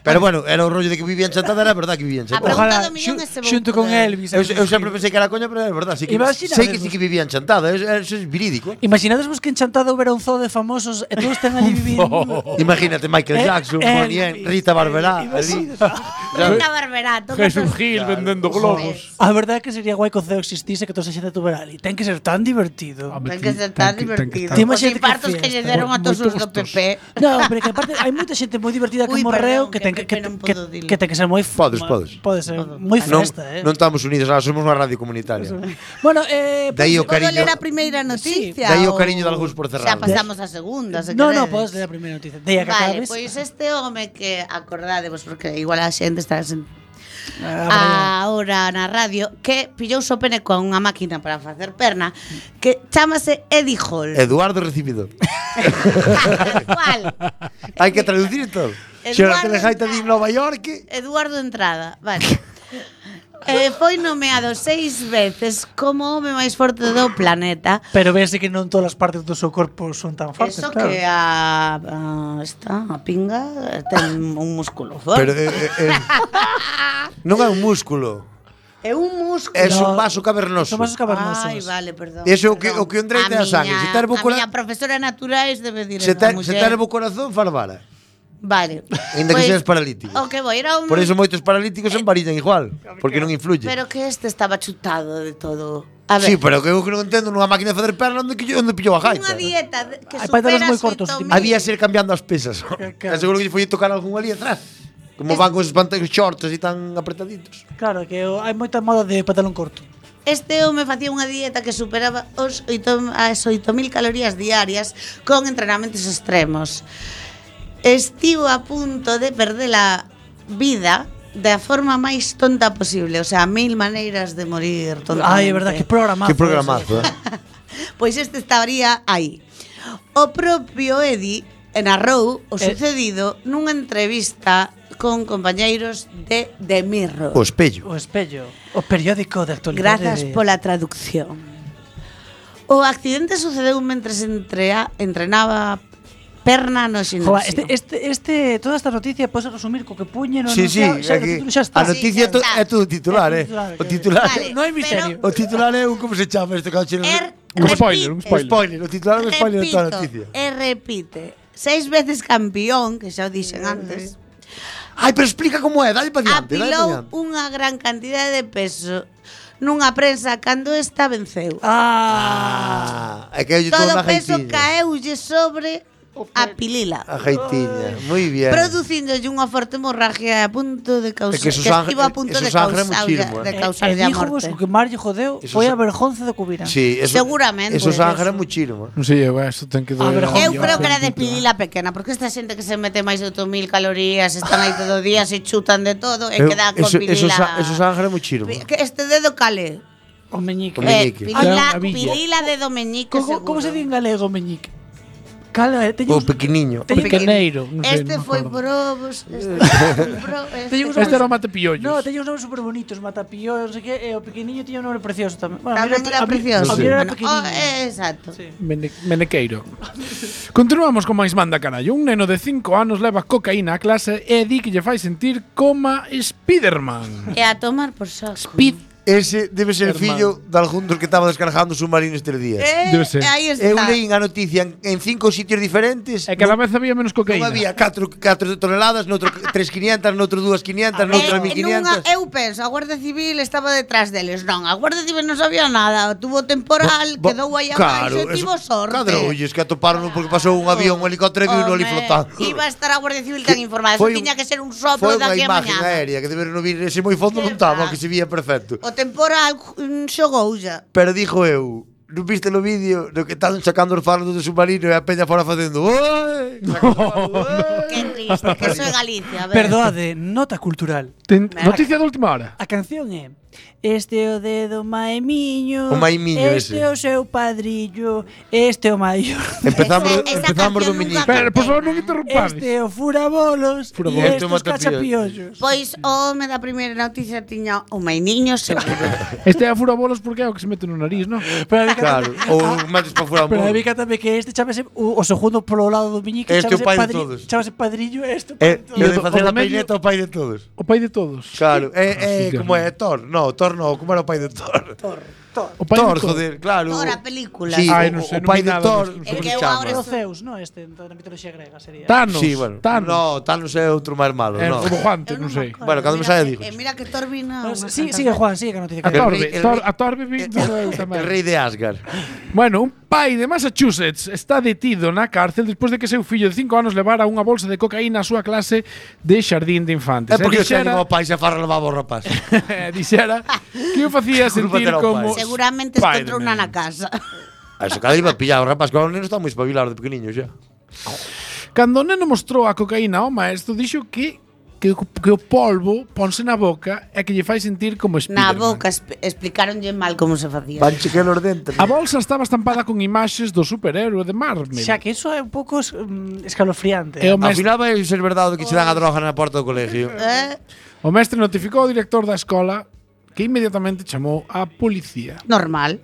S4: Pero bueno, era o rollo de que vivía enchantada, era verdad que vivía
S7: Pero
S4: enchantada.
S1: Ojalá,
S7: Habrá- contado millón
S1: xu-
S7: ese vou
S1: xunto con
S7: poder.
S1: Elvis.
S4: Eu, eu sempre pensei que era coña, pero é verdad, sí que,
S1: Imagina
S4: sei que
S1: vos.
S4: sí que vivía enchantada, eso, eso es verídico.
S1: Imaginades vos que enchantado hubiera un zoo de famosos e todos están ali vivindo.
S4: Imagínate
S1: Eh,
S4: Michael Jackson,
S1: Elvis,
S4: Bonnie Ann, Rita Barberá,
S1: Elvis.
S4: ali.
S7: Rita Barberato.
S8: Jesús Gil vendendo globos.
S1: A verdade é que sería guai que o zoo existise que toda esa xente tubera ali. Ten que ser tan divertido.
S7: Ten
S8: Home, ti-
S7: que ser tan
S8: ten que- ten
S7: divertido.
S8: que estar-
S1: Ti
S7: Os
S1: imagínate que
S7: infartos que lle
S1: fiesta. ¿eh?
S7: deron a
S8: Moi-
S7: todos
S8: moi
S7: os do
S8: gustos.
S7: PP.
S1: No, pero que aparte hai moita xente moi divertida que
S7: Ui,
S1: morreu
S7: perdón,
S1: que
S7: que
S1: ten que, que,
S7: Pepe non
S1: que,
S7: podo dilo.
S1: que ten que ser moi
S4: Podes, podes.
S1: Pode ser
S7: Podo.
S1: moi
S4: Non,
S1: festa, eh.
S4: non estamos unidos, ahora somos unha radio comunitaria.
S1: Bueno, eh
S4: De aí o
S7: Podo
S4: cariño.
S7: ler a primeira noticia?
S4: Dai o
S7: ou-
S4: cariño de algúns por
S7: Xa
S4: cerrado.
S7: pasamos a segunda, se
S1: No, no,
S7: queredes.
S1: podes ler a primeira noticia. Deia que
S7: Vale,
S1: acabes.
S7: pois este home que acordadevos porque igual a xente está sen-
S1: Ah,
S7: ahora na radio que pillou o pene con unha máquina para facer perna que chamase Eddie Hall.
S4: Eduardo Recibido.
S7: Cual?
S4: Hai que traducir todo. Xera
S7: Eduardo
S4: que le jaita di Nova York.
S7: Eduardo Entrada, vale. Eh, foi nomeado seis veces como o home máis forte do planeta.
S1: Pero vese que non todas as partes do seu corpo son tan fortes,
S7: Eso
S1: claro.
S7: que a, a esta a pinga eh, ten un músculo forte.
S4: Pero eh, eh, eh, non é un músculo,
S7: é un músculo.
S4: é un vaso cavernoso.
S1: Son vasos cavernosos.
S7: Ai, vale, perdón.
S4: Ese é o
S7: perdón.
S4: que- o que o entra e
S7: A
S4: te da sangue.
S7: miña-
S4: Se ter bo
S7: a
S4: cola-
S7: miña profesora naturais debe dir
S4: Se
S7: a
S4: te, se
S7: muller.
S4: te bo corazón, far vara.
S7: Vale.
S4: Ainda que seas paralítico.
S7: O que vou ir a un...
S4: Por eso moitos paralíticos en varillan igual, porque non influye.
S7: Pero que este estaba chutado de todo. A ver.
S4: Sí, pero que eu que non entendo nunha máquina de facer perna onde, quillo- onde pillou a gaita.
S7: Unha dieta de- que
S1: Hai
S7: supera
S1: pantalóns moi
S7: os
S1: cortos,
S7: 8.000.
S4: Había ser cambiando as pesas.
S1: claro.
S4: Seguro que lle foi tocar algún ali atrás. Como van con esos pantalones shorts así tan apretaditos.
S1: Claro, que o- hai moita moda de pantalón corto.
S7: Este home facía unha dieta que superaba os 8, as 8.000 calorías diarias con entrenamentos extremos. Estivo a punto de perder a vida da forma máis tonta posible, o sea, mil maneiras de morir
S1: Ai,
S7: tontamente.
S1: é verdade, que programazo.
S4: Que programazo, eh?
S7: Pois este estaría aí. O propio Eddie narrou o
S1: Eh.
S7: sucedido nunha entrevista con compañeiros de The Mirror.
S4: O espello.
S1: O espello, o periódico de actualidade.
S7: Grazas
S1: de-
S7: pola traducción. O accidente sucedeu mentre se entrea, entrenaba perna no gimnasio.
S1: Joa, este, este, este, toda esta noticia podes resumir co que puñe no
S4: Sí, sí,
S1: anunciado, xa,
S4: aquí,
S1: o título xa está.
S4: a noticia
S7: Sí,
S4: to-
S7: xa está.
S4: é todo titular, eh?
S1: titular,
S4: O
S1: que-
S4: titular,
S7: Vale,
S1: non hai
S7: pero
S1: misterio.
S4: o titular é un como se chama este canchero.
S7: er-
S8: Un spoiler, un
S7: repite-
S8: spoiler.
S4: Spoiler, o titular é un spoiler de toda a
S7: repito,
S4: noticia.
S7: E repite. Seis veces campeón, que xa o dixen antes,
S4: Ai, pero explica como é, dale para diante, dale para
S7: apilou
S4: diante.
S7: unha gran cantidade de peso nunha prensa cando esta venceu.
S1: Ah,
S4: Ah, é que eu lle
S7: Todo
S4: todo na
S7: o peso
S4: gaitiña.
S7: caeulle sobre a pilila.
S4: A gaitiña, moi bien.
S7: produciéndolle unha forte hemorragia a punto de causar
S4: É que
S7: que,
S4: eso
S7: que
S4: sang-
S7: estivo a
S4: eh,
S7: punto
S4: eso
S7: de
S4: sangre
S7: causarlle
S4: muchísimo, eh.
S7: de
S1: e, e
S7: causarlle a
S1: díjovos
S7: morte.
S1: que marlle jodeu
S4: Eso
S1: foi
S4: sa-
S1: a vergonza de Cubira.
S4: Sí, eso,
S7: Seguramente.
S4: Eso sangra
S7: Eso.
S4: muchísimo.
S8: Non sei, eu isto ten que
S1: A ver,
S8: doer.
S1: joder,
S7: Eu creo que era
S8: era
S7: de pilila pequena, porque esta xente que se mete máis de 8000 calorías, están aí todo o día, se chutan de todo e
S4: Eu-
S7: queda con
S4: eso,
S7: pilila.
S4: eso, sa- eso sangra muchísimo.
S7: Pi- que Este dedo cale.
S1: O meñique.
S4: O
S7: Eh,
S4: meñique.
S8: Dá
S7: pilila,
S8: unha villa.
S7: pilila dedo meñique
S1: Como,
S7: seguro.
S1: como se di en galego o meñique? Cala, eh, teño
S4: O
S1: uns-
S4: pequeniño.
S1: teño-
S8: Pequeneiro, non sei,
S7: Este
S8: non me
S7: foi
S8: acordo.
S7: probos, este foi pro, este
S1: Teño uns
S8: Este
S1: nomes-
S8: era o mate piollos.
S1: No, teña uns nomes super bonitos, Matapío, non sei que, e o pequeniño tiña un nome precioso tamén. Bueno, a mí
S7: tamén
S1: era- a
S7: era
S1: mí-
S7: precioso.
S1: A mí era
S7: Bueno,
S1: pequeniño.
S7: oh, eh, exacto.
S1: Sí.
S8: Mene- Menequeiro. Continuamos con máis manda carallo. Un neno de 5 anos leva cocaína a clase e di que lle fai sentir coma Spiderman.
S7: E a tomar por saco.
S8: Speed.
S4: Ese debe ser
S8: Hermano.
S4: fillo de algún dos que estaba descargando submarino este día.
S7: Eh,
S8: Debe ser.
S7: Aí está.
S4: Eu leín a noticia en, en cinco sitios diferentes.
S8: E cada
S4: non-
S8: vez había menos
S4: non
S8: cocaína.
S4: había 4 4 toneladas, noutro 3.500, noutro 2.500, noutro
S7: Eh, nunha,
S4: 1.500.
S7: eu penso, a Guardia Civil estaba detrás deles Non, a Guardia Civil non sabía nada Tuvo temporal,
S4: Bo-
S7: quedou aí a
S4: claro,
S7: máis E tivo
S4: eso-
S7: sorte
S4: Cadrolles que atoparon porque pasou un avión, un helicóptero e viu ali
S7: Home,
S4: flotando.
S7: Iba a estar a Guardia Civil tan informada Eso
S4: Foi un-
S7: tiña que ser un
S4: Foi
S7: soplo
S4: unha
S7: daqui a
S4: imagen eh.
S7: mañana
S4: aérea que deberon no vir ese moi fondo
S7: Que
S4: non estaba,
S7: va.
S4: que se vía perfecto.
S7: O temporal mm, xogou xa
S4: Pero dixo eu, non viste no vídeo no que están sacando os faros do submarino e a peña fora facendo "Oi!" Sacando os faros, "Oi!"
S7: Que triste, que eso é Galicia a ver.
S1: Perdoade, nota cultural.
S8: Ten- noticia de última hora.
S1: A canción é Este é o dedo maemiño
S4: O maimiño
S1: Este é
S4: ese.
S1: o seu padrillo Este é o maior
S4: Empezamos,
S7: Esa- esa
S4: empezamos do
S7: canción
S4: miñique.
S7: nunca-
S8: Pero, por favor, non interrumpades.
S1: Este é o furabolos E
S8: Furabolos.
S1: este
S4: Este é o
S1: os
S4: matapiollos.
S1: cachapiollos
S7: Pois o home da primeira noticia tiña o mainiño seguro
S8: Este é a furabolos porque é o que se mete no nariz, non?
S1: Pero a mí
S4: Claro,
S1: catame-
S4: ou mates para fora un
S1: Pero a mí
S4: pouco.
S1: catame que este chamase O, o segundo polo lado do miñique
S4: Este é o
S1: chamase
S4: pai de
S1: padri-
S4: todos.
S1: Chamase padrillo e este pai de
S4: É, é
S1: todos
S4: Eh, de facer
S8: o
S4: a
S8: medio-
S4: peineta ao pai de todos.
S8: O pai de todos.
S4: Ah, Claro, é, é
S8: Hostia.
S4: como é Thor, no, Thor no, como era o pai de Thor? Thor,
S8: O pai de todos.
S4: joder, claro.
S7: Thor, a película.
S4: Sí,
S8: Ai,
S4: o-
S8: non sei,
S4: o
S8: non
S4: pai de
S8: vi nada,
S4: Thor,
S8: non
S7: sei.
S4: como
S7: É que
S4: se
S7: eu
S4: chama?
S7: agora
S1: Era o
S7: estou-
S1: Zeus, non? Este da mitoloxía grega sería
S8: Thanos.
S4: Sí, bueno.
S8: Thanos.
S4: No, Thanos é outro máis malo,
S8: Eh,
S4: no.
S8: como Juante,
S7: Eu
S8: non
S7: non me
S8: sei.
S7: acordo.
S4: Bueno, cando me
S7: Mira
S4: saia
S7: que-
S4: digo.
S7: eh, Mira que Thor vino
S1: No,
S7: unha
S1: sí,
S7: santa
S1: sigue
S7: vez.
S1: Juan, sigue que noticia
S8: A
S1: que
S4: ver.
S1: era.
S8: Torbe,
S4: rei- el
S8: Tor,
S4: rei-
S8: a Torbe vindo
S4: El
S8: eu tamén.
S4: rei de Asgard.
S8: Bueno, un pai de Massachusetts está detido na cárcel despois de que seu fillo de 5 anos levara unha bolsa de cocaína á súa clase de xardín de infantes.
S4: É Eh, porque o
S8: E
S4: se
S8: dixera, eh,
S4: animou o pai se farra levaba o rapaz.
S8: dixera que o
S4: Culpa
S8: facía sentir
S4: terá o
S8: como
S4: pai.
S7: Seguramente encontrou
S8: Spiderman.
S7: unha na casa.
S4: A eso cada iba a pillar o rapaz, claro, o neno está moi espabilado de pequeniño xa.
S8: Cando o neno mostrou a cocaína ao maestro, dixo que que, o- que o polvo ponse na boca e que lle fai sentir como
S7: Na
S8: Spiderman.
S7: boca esp- explicáronlle mal como se facía.
S4: Van chequear os dentes.
S8: A bolsa estaba estampada con imaxes do superhéroe de Marvel.
S1: Xa que iso é un pouco es- mm, escalofriante
S8: E o
S4: Ao
S8: mestre,
S4: final vai ser verdade que se dan a droga na porta do colegio.
S7: Eh,
S8: o mestre notificou ao director da escola que inmediatamente chamou a policía.
S7: normal.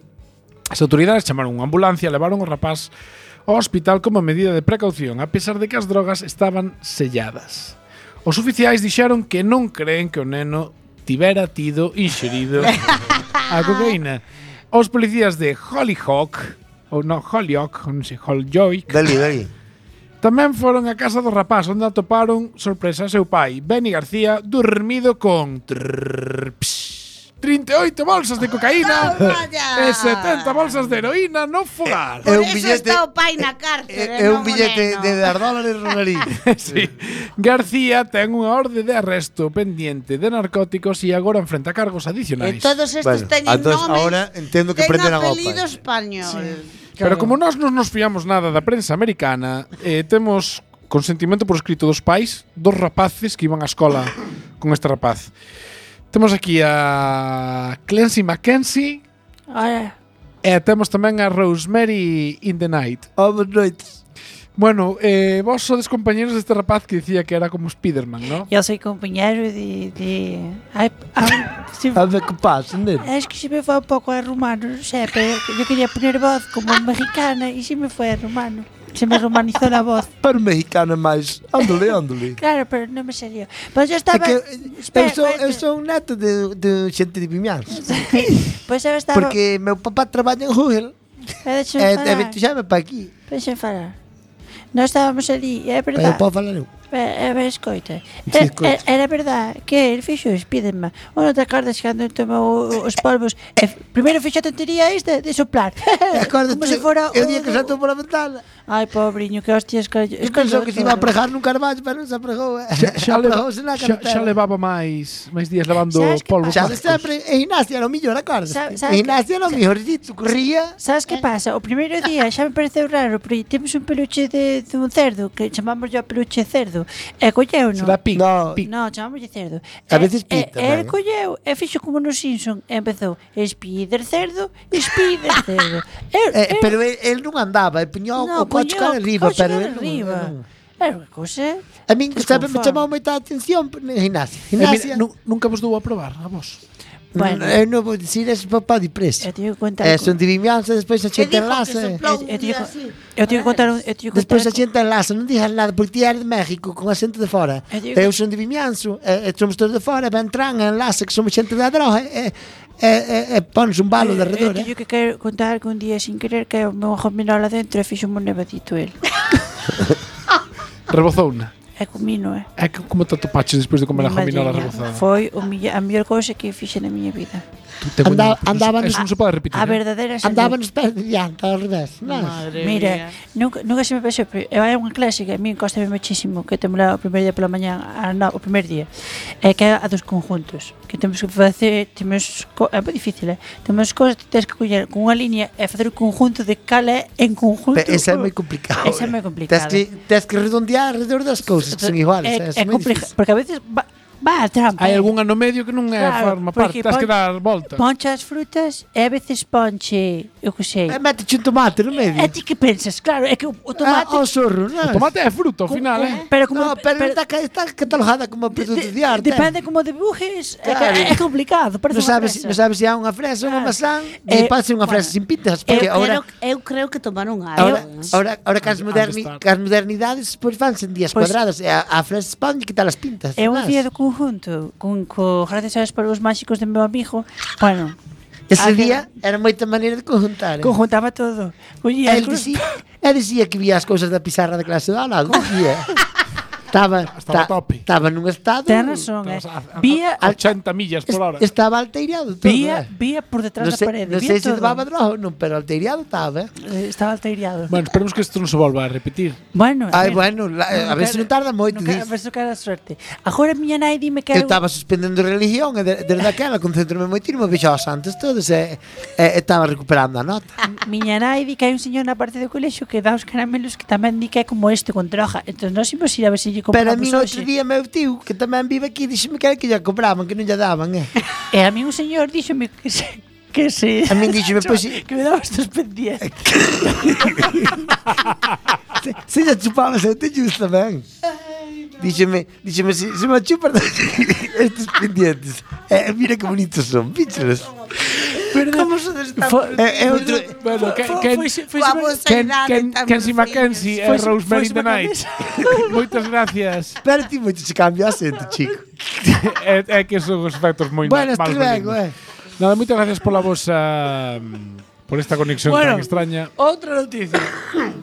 S8: As autoridades chamaron unha ambulancia e levaron o rapaz ao hospital como medida de precaución, a pesar de que as drogas estaban selladas. Os oficiais dixeron que non creen que o neno tivera tido inxerido a cocaína. Os policías de Hollyhock, ou non, Holyoke, non sei, Holyoke,
S4: Dali, dali.
S8: tamén foron á casa do rapaz onde atoparon, sorpresa, seu pai, Benny García, dormido con trrr, psh, 30 28 bolsas de cocaína
S7: Toma ya.
S8: e 70 bolsas de heroína no fogar.
S4: É
S7: Por
S4: un
S7: eso
S4: billete-
S7: está o pai na cárcere,
S4: É, é un
S7: non o
S4: billete
S7: neno.
S4: de dar dólares no nariz.
S8: Sí. García ten unha orde de arresto pendiente de narcóticos e agora enfrenta cargos
S7: E
S8: adicionais.
S7: todos estos
S4: Bueno,
S7: teñen
S4: entón,
S7: nomes.
S4: ahora entiendo que
S7: ten
S4: prenderán ao
S7: apelido
S4: pai.
S7: español.
S8: Pero como nós non nos fiamos nada da prensa americana, eh, temos consentimento por escrito dos pais, dos rapaces que iban á escola con este rapaz. Temos aquí a Clancy Mackenzie e temos tamén a Rosemary in the Night.
S4: Boas noites.
S8: Bueno, eh, vos sodes compañeros deste rapaz que dicía que era como Spiderman, ¿no?
S10: Yo soy compañero de... de ay, ay, sí,
S4: A ver que pasa, nene.
S10: es que se me fue un poco a rumano, no sé, pero yo quería poner voz como mexicana y se me fue a rumano. Se me romanizó la voz.
S4: Para o mexicano é máis. Ándale, ándale.
S10: Claro, pero no me salió. Pues yo
S4: É
S10: estaba...
S4: que eu
S10: Tá Espera,
S4: sou, eu
S10: espera.
S4: sou un neto de, um de xente de Vimianzo.
S10: Pues eu estaba...
S4: Porque meu papá traballa en Google e,
S10: Eh, deixa-me
S4: e
S10: falar.
S4: chame para aquí.
S10: Deixa falar. Nós estábamos ali, é
S4: Pero
S10: verdade.
S4: podo falar eu.
S10: É, é, é, escoita.
S4: Sí,
S10: É-
S4: escoita.
S10: é- Eh, Era verdade que ele fixo o Spiderman. Ou non te acordas cando tomou o- os polvos? E f- primeiro fixo a tontería esta de soplar.
S4: Acordaste,
S10: É, Como se fora um
S4: eu
S10: o-
S4: día que saltou pola ventana.
S10: Ai, pobriño, que hostias que... é um
S4: Eu pensou que se iba a pregar nun carballo, pero non se pregou. eh.
S8: Xa,
S4: Apregouse na
S8: É, leva, um xa, xa
S4: carretera.
S8: levaba máis máis días lavando
S10: Sabes que
S8: polvo.
S10: pasa?
S4: Xa sempre, e Ignacia era o millor, acordas?
S10: Sabe- sabe que-
S4: Ignacia era o millor, dito, corría.
S10: Sabes que pasa? O primeiro día xa me pareceu raro, pero temos un peluche de, de un cerdo, que chamamos o peluche cerdo, e colleu, non?
S8: Será pic,
S4: No.
S8: pic.
S10: No, chamámoslle cerdo.
S4: A né? veces
S10: e,
S4: pita,
S10: e, e el
S4: non?
S10: colleu e fixo como no Simpson e empezou Spider cerdo, Spider cerdo. Eu,
S4: Eh, pero el, el non andaba, el piñón o coche cara arriba,
S10: coche
S4: pero
S10: cara
S4: el non-
S10: arriba.
S4: el non.
S10: Era unha cousa.
S4: A min que sempre me
S10: Desconforme.
S4: chamou moita a atención Ignacia.
S8: Eh,
S4: Ignacia.
S8: mira, nu- nunca vos dou a probar, a vos.
S10: Bueno,
S4: Eu non vou dicir ese pues, papá de preso.
S10: eu teño que contar.
S4: Eh,
S10: co-
S4: son de Vimianzo, despois a
S7: Que
S4: xente
S7: dijo que
S4: enlace.
S7: soplou
S10: Eu- eu
S7: un
S10: teño
S7: día
S10: que-
S7: así.
S10: Eu teño que contar un, eu teño que
S4: Despois
S10: contar.
S4: a xente enlace, non dixas nada, porque ti eres de México, con acento de fora.
S10: Eu digo-
S4: Eu son de Vimianzo, e, e somos todos eh, de fora, ben tran, enlace, que somos xente da droga, eh, e, e, e, e eh, pones un balo de
S10: Eu
S4: redor. Eh.
S10: teño que quero contar que un día sin querer que o meu ojo mirou lá dentro e fixo un nevadito el.
S8: Rebozouna.
S10: E comino, eh.
S8: É que Ah, como te atopaches despois de comer a
S10: Madriña.
S8: jominola rebozada?
S10: Foi o milla- a mellor cousa que fixen na miña vida.
S8: Tú te
S4: Anda-
S8: pones-
S4: andaban-
S8: Eso non se pode repetir. eh?
S10: A verdadeira salud.
S4: Andaban os pés de diante, ao revés. Non?
S10: Mira, nunca, nunca se me pasou, pero é unha clase que a mí costame muchísimo que temos lá o primeiro día pela mañá, a, no, o primeiro día, é que é a dos conjuntos, que temos que facer, temos, co- é moi difícil, eh? temos cousas que tens que coller con unha línea e facer o conjunto de cal é en conjunto.
S4: Pe- Esa é moi complicada.
S10: Esa é moi
S4: Tens
S10: complicada.
S4: eh. que, tens que redondear alrededor das cousas que
S1: Eh,
S4: son iguales. eh,
S10: É, é, compleja, porque a veces va, va a trampa.
S8: Hai
S10: eh.
S8: algunha no medio que non é
S10: Claro,
S8: forma parte,
S10: porque
S8: tens que
S10: pon-
S8: dar volta.
S10: Ponche as frutas e a veces ponche, eu que sei.
S4: É, Eh, mete un tomate no medio.
S10: E ti que pensas, claro, é que o, o tomate... eh,
S4: Ah, ao sorro, non?
S8: O tomate é fruto, ao final, eh?
S10: Pero como
S4: No, pero, está, ca- está catalogada como
S10: De-
S4: produto
S10: de-
S4: de arte.
S10: Depende como dibujes, é,
S4: Claro.
S10: que- é complicado. Parece
S4: Non
S10: unha
S4: sabes,
S10: fresa.
S4: non sabes se há unha fresa, unha
S10: Claro.
S4: maçã, e
S10: Eh,
S4: pode ser unha fresa
S10: bueno,
S4: sin pintas,
S7: Eu,
S4: porque agora
S7: creo, eu creo que tomaron algo.
S4: Ahora, ahora, ahora que as, moderni,
S8: Understand.
S4: que as modernidades pois fanse pues en días
S10: Pois-
S4: cuadrados e a, a fresa pan quitar as pintas.
S10: É un
S4: sabes?
S10: día do conjunto, con, co, gracias aos polvos máxicos do meu amigo, bueno,
S4: Ese
S10: Ah, que-
S4: día era moita maneira de conjuntar. eh?
S10: conjuntaba todo. Oye,
S4: El dicía, el dicía que vía as cousas da pizarra da clase do lado, dicía. Estaba, ta-
S8: Estaba tope.
S4: estaba nun estado...
S10: ten razón, eh.
S8: Estamos a- a-
S10: Vía,
S8: a 80 millas por hora.
S4: es- Estaba alterado todo.
S10: vía,
S4: eh?
S10: vía por detrás
S4: non
S10: da
S4: sei,
S10: parede,
S4: non
S10: vía
S4: sei se
S10: todo.
S4: levaba droga ou non, pero alterado estaba. eh?
S10: Eh, Estaba alterado.
S8: Bueno, esperemos que isto non se volva a repetir.
S10: Bueno, eh,
S4: Ai, bueno, la, a
S10: nunca-
S4: ver se non tarda moito.
S10: nunca-
S4: dis.
S10: a ver se cara a sorte. Agora a miña nai dime que
S4: Eu
S10: algo-
S4: estaba suspendendo religión e de- desde aquela concentro-me moitísimo, vexo aos santos todos e, e, e estaba recuperando a nota.
S10: Miña nai di que hai un señor na parte do colexio que dá os caramelos que tamén di que é como este con troja. Entón nós imos ir a ver se lle
S4: Pero a
S10: compramos
S4: mí outro
S10: hoxe.
S4: día meu tío, que tamén vive aquí, dixeme que era que lle cobraban, que non lle daban, eh.
S10: E a mí un señor díxome que se que se
S4: A min díxeme, pois, se,
S10: que me daba estos pendientes.
S4: se, se lle chupabas, eu te lluís tamén. Díxeme, díxeme, se, se me chupan estes pendientes. Eh, mira que bonitos son, píchelos.
S1: Como
S4: É, é outro...
S8: Bueno, que, que,
S7: Coa vosa
S8: Ken,
S7: idade
S8: Ken,
S7: tan
S8: Kenzie
S7: perfeitos.
S8: Mackenzie e
S10: Foi- foi
S8: Rosemary in the
S10: Superman
S8: Night. Moitas gracias.
S4: Pero ti moito se cambia o acento, chico.
S8: é, é que son os efectos moi
S4: Bueno,
S8: mal
S4: este ben,
S8: malignos.
S4: eh.
S8: Nada, moitas gracias pola vosa mm, por esta conexión
S1: Bueno.
S8: tan extraña.
S1: Outra noticia.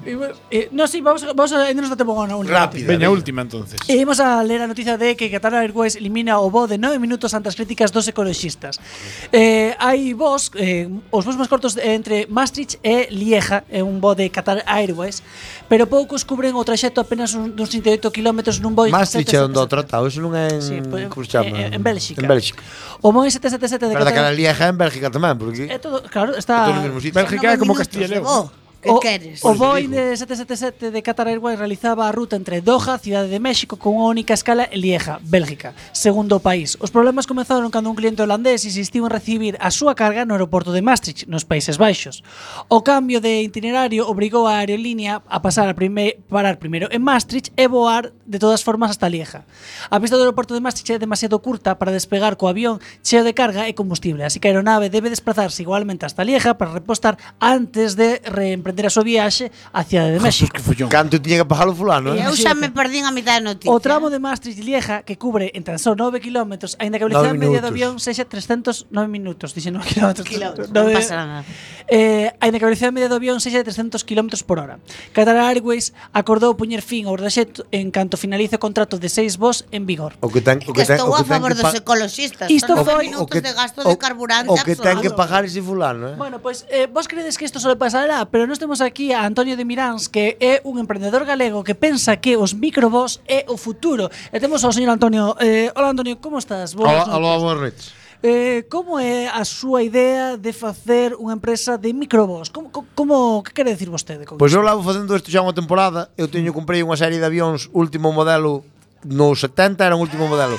S1: Imos- eh, no, sí, vamos, a- vamos a irnos do tempo con a última.
S8: Rápida, Veña, última entonces.
S1: E imos a ler a noticia de que Qatar Airways elimina o voo de 9 minutos ante as críticas dos ecoloxistas. Eh, hai voos, eh, os voos máis cortos eh, entre Maastricht e Lieja, é un voo de Qatar Airways, pero poucos cubren o traxecto apenas un, duns 38 km nun voo...
S4: Maastricht é
S1: 777.
S4: onde o tratado, eso non é en,
S1: Sí, pois,
S4: como se chama?
S1: eh, en Bélxica.
S4: En Bélxica.
S1: O Boeing 777 de Eh,
S4: Pero daquela Lieja é en Bélgica tamén, porque
S1: É todo, claro, está...
S4: É todo no mismo sitio. Bélgica é como Castilla e León.
S1: O-
S7: Que
S1: o,
S7: Oh, queres?
S1: o Boeing de 777 de Qatar Airways realizaba a ruta entre Doha, Cidade de México, con unha única escala en Lieja, Bélgica, segundo país. Os problemas comenzaron cando un cliente holandés insistiu en recibir a súa carga no aeroporto de Maastricht, nos Países Baixos. O cambio de itinerario obrigou a aerolínea a pasar a prime, parar primeiro en Maastricht e voar de todas formas hasta Lieja. A pista do aeroporto de Maastricht é demasiado curta para despegar co avión cheo de carga e combustible, así que a aeronave debe desplazarse igualmente hasta Lieja para repostar antes de reemprender a súa viaxe hacia de México.
S4: canto tiña que pagar o fulano, eh?
S7: Eu xa me perdín a mitad da noticia.
S1: O tramo de Maastricht e Lieja, que cubre en tan só 9 km, aínda que a velocidade
S4: Nove
S1: media do avión
S4: minutos.
S1: sexa 309 minutos, dixen 9 km.
S7: Kilómetros, non
S1: nove-
S7: pasa nada.
S1: Eh, aínda que a velocidade media do avión sexa de 300 km por hora. Qatar Airways acordou poñer fin ao traxecto en canto finalice o contrato de 6 vos en vigor.
S4: O que ten, o
S7: Que
S4: que ten,
S7: estou
S4: o
S7: a
S4: que ten
S7: favor
S4: que
S7: dos
S4: pa-
S7: ecologistas.
S1: Isto
S7: son
S1: foi-
S4: o
S7: minutos
S4: que-
S7: de gasto
S4: o-
S7: de carburante
S4: O que ten que
S7: absoluto.
S4: pagar ese fulano, eh?
S1: Bueno, pois eh, vos credes que isto só le pasará, pero nós temos aquí a Antonio de Miráns, que é un emprendedor galego que pensa que os microbos é o futuro. E temos ao señor Antonio. Eh, hola Antonio, como estás? Boas
S4: Aló,
S1: noites.
S4: aló, boas noites.
S1: Eh, como é a súa idea de facer unha empresa de microbos? Como, co- como que quere decir vostede con
S4: Pois eu levo facendo isto xa unha temporada Eu teño comprei unha serie de avións Último modelo No 70 era un último modelo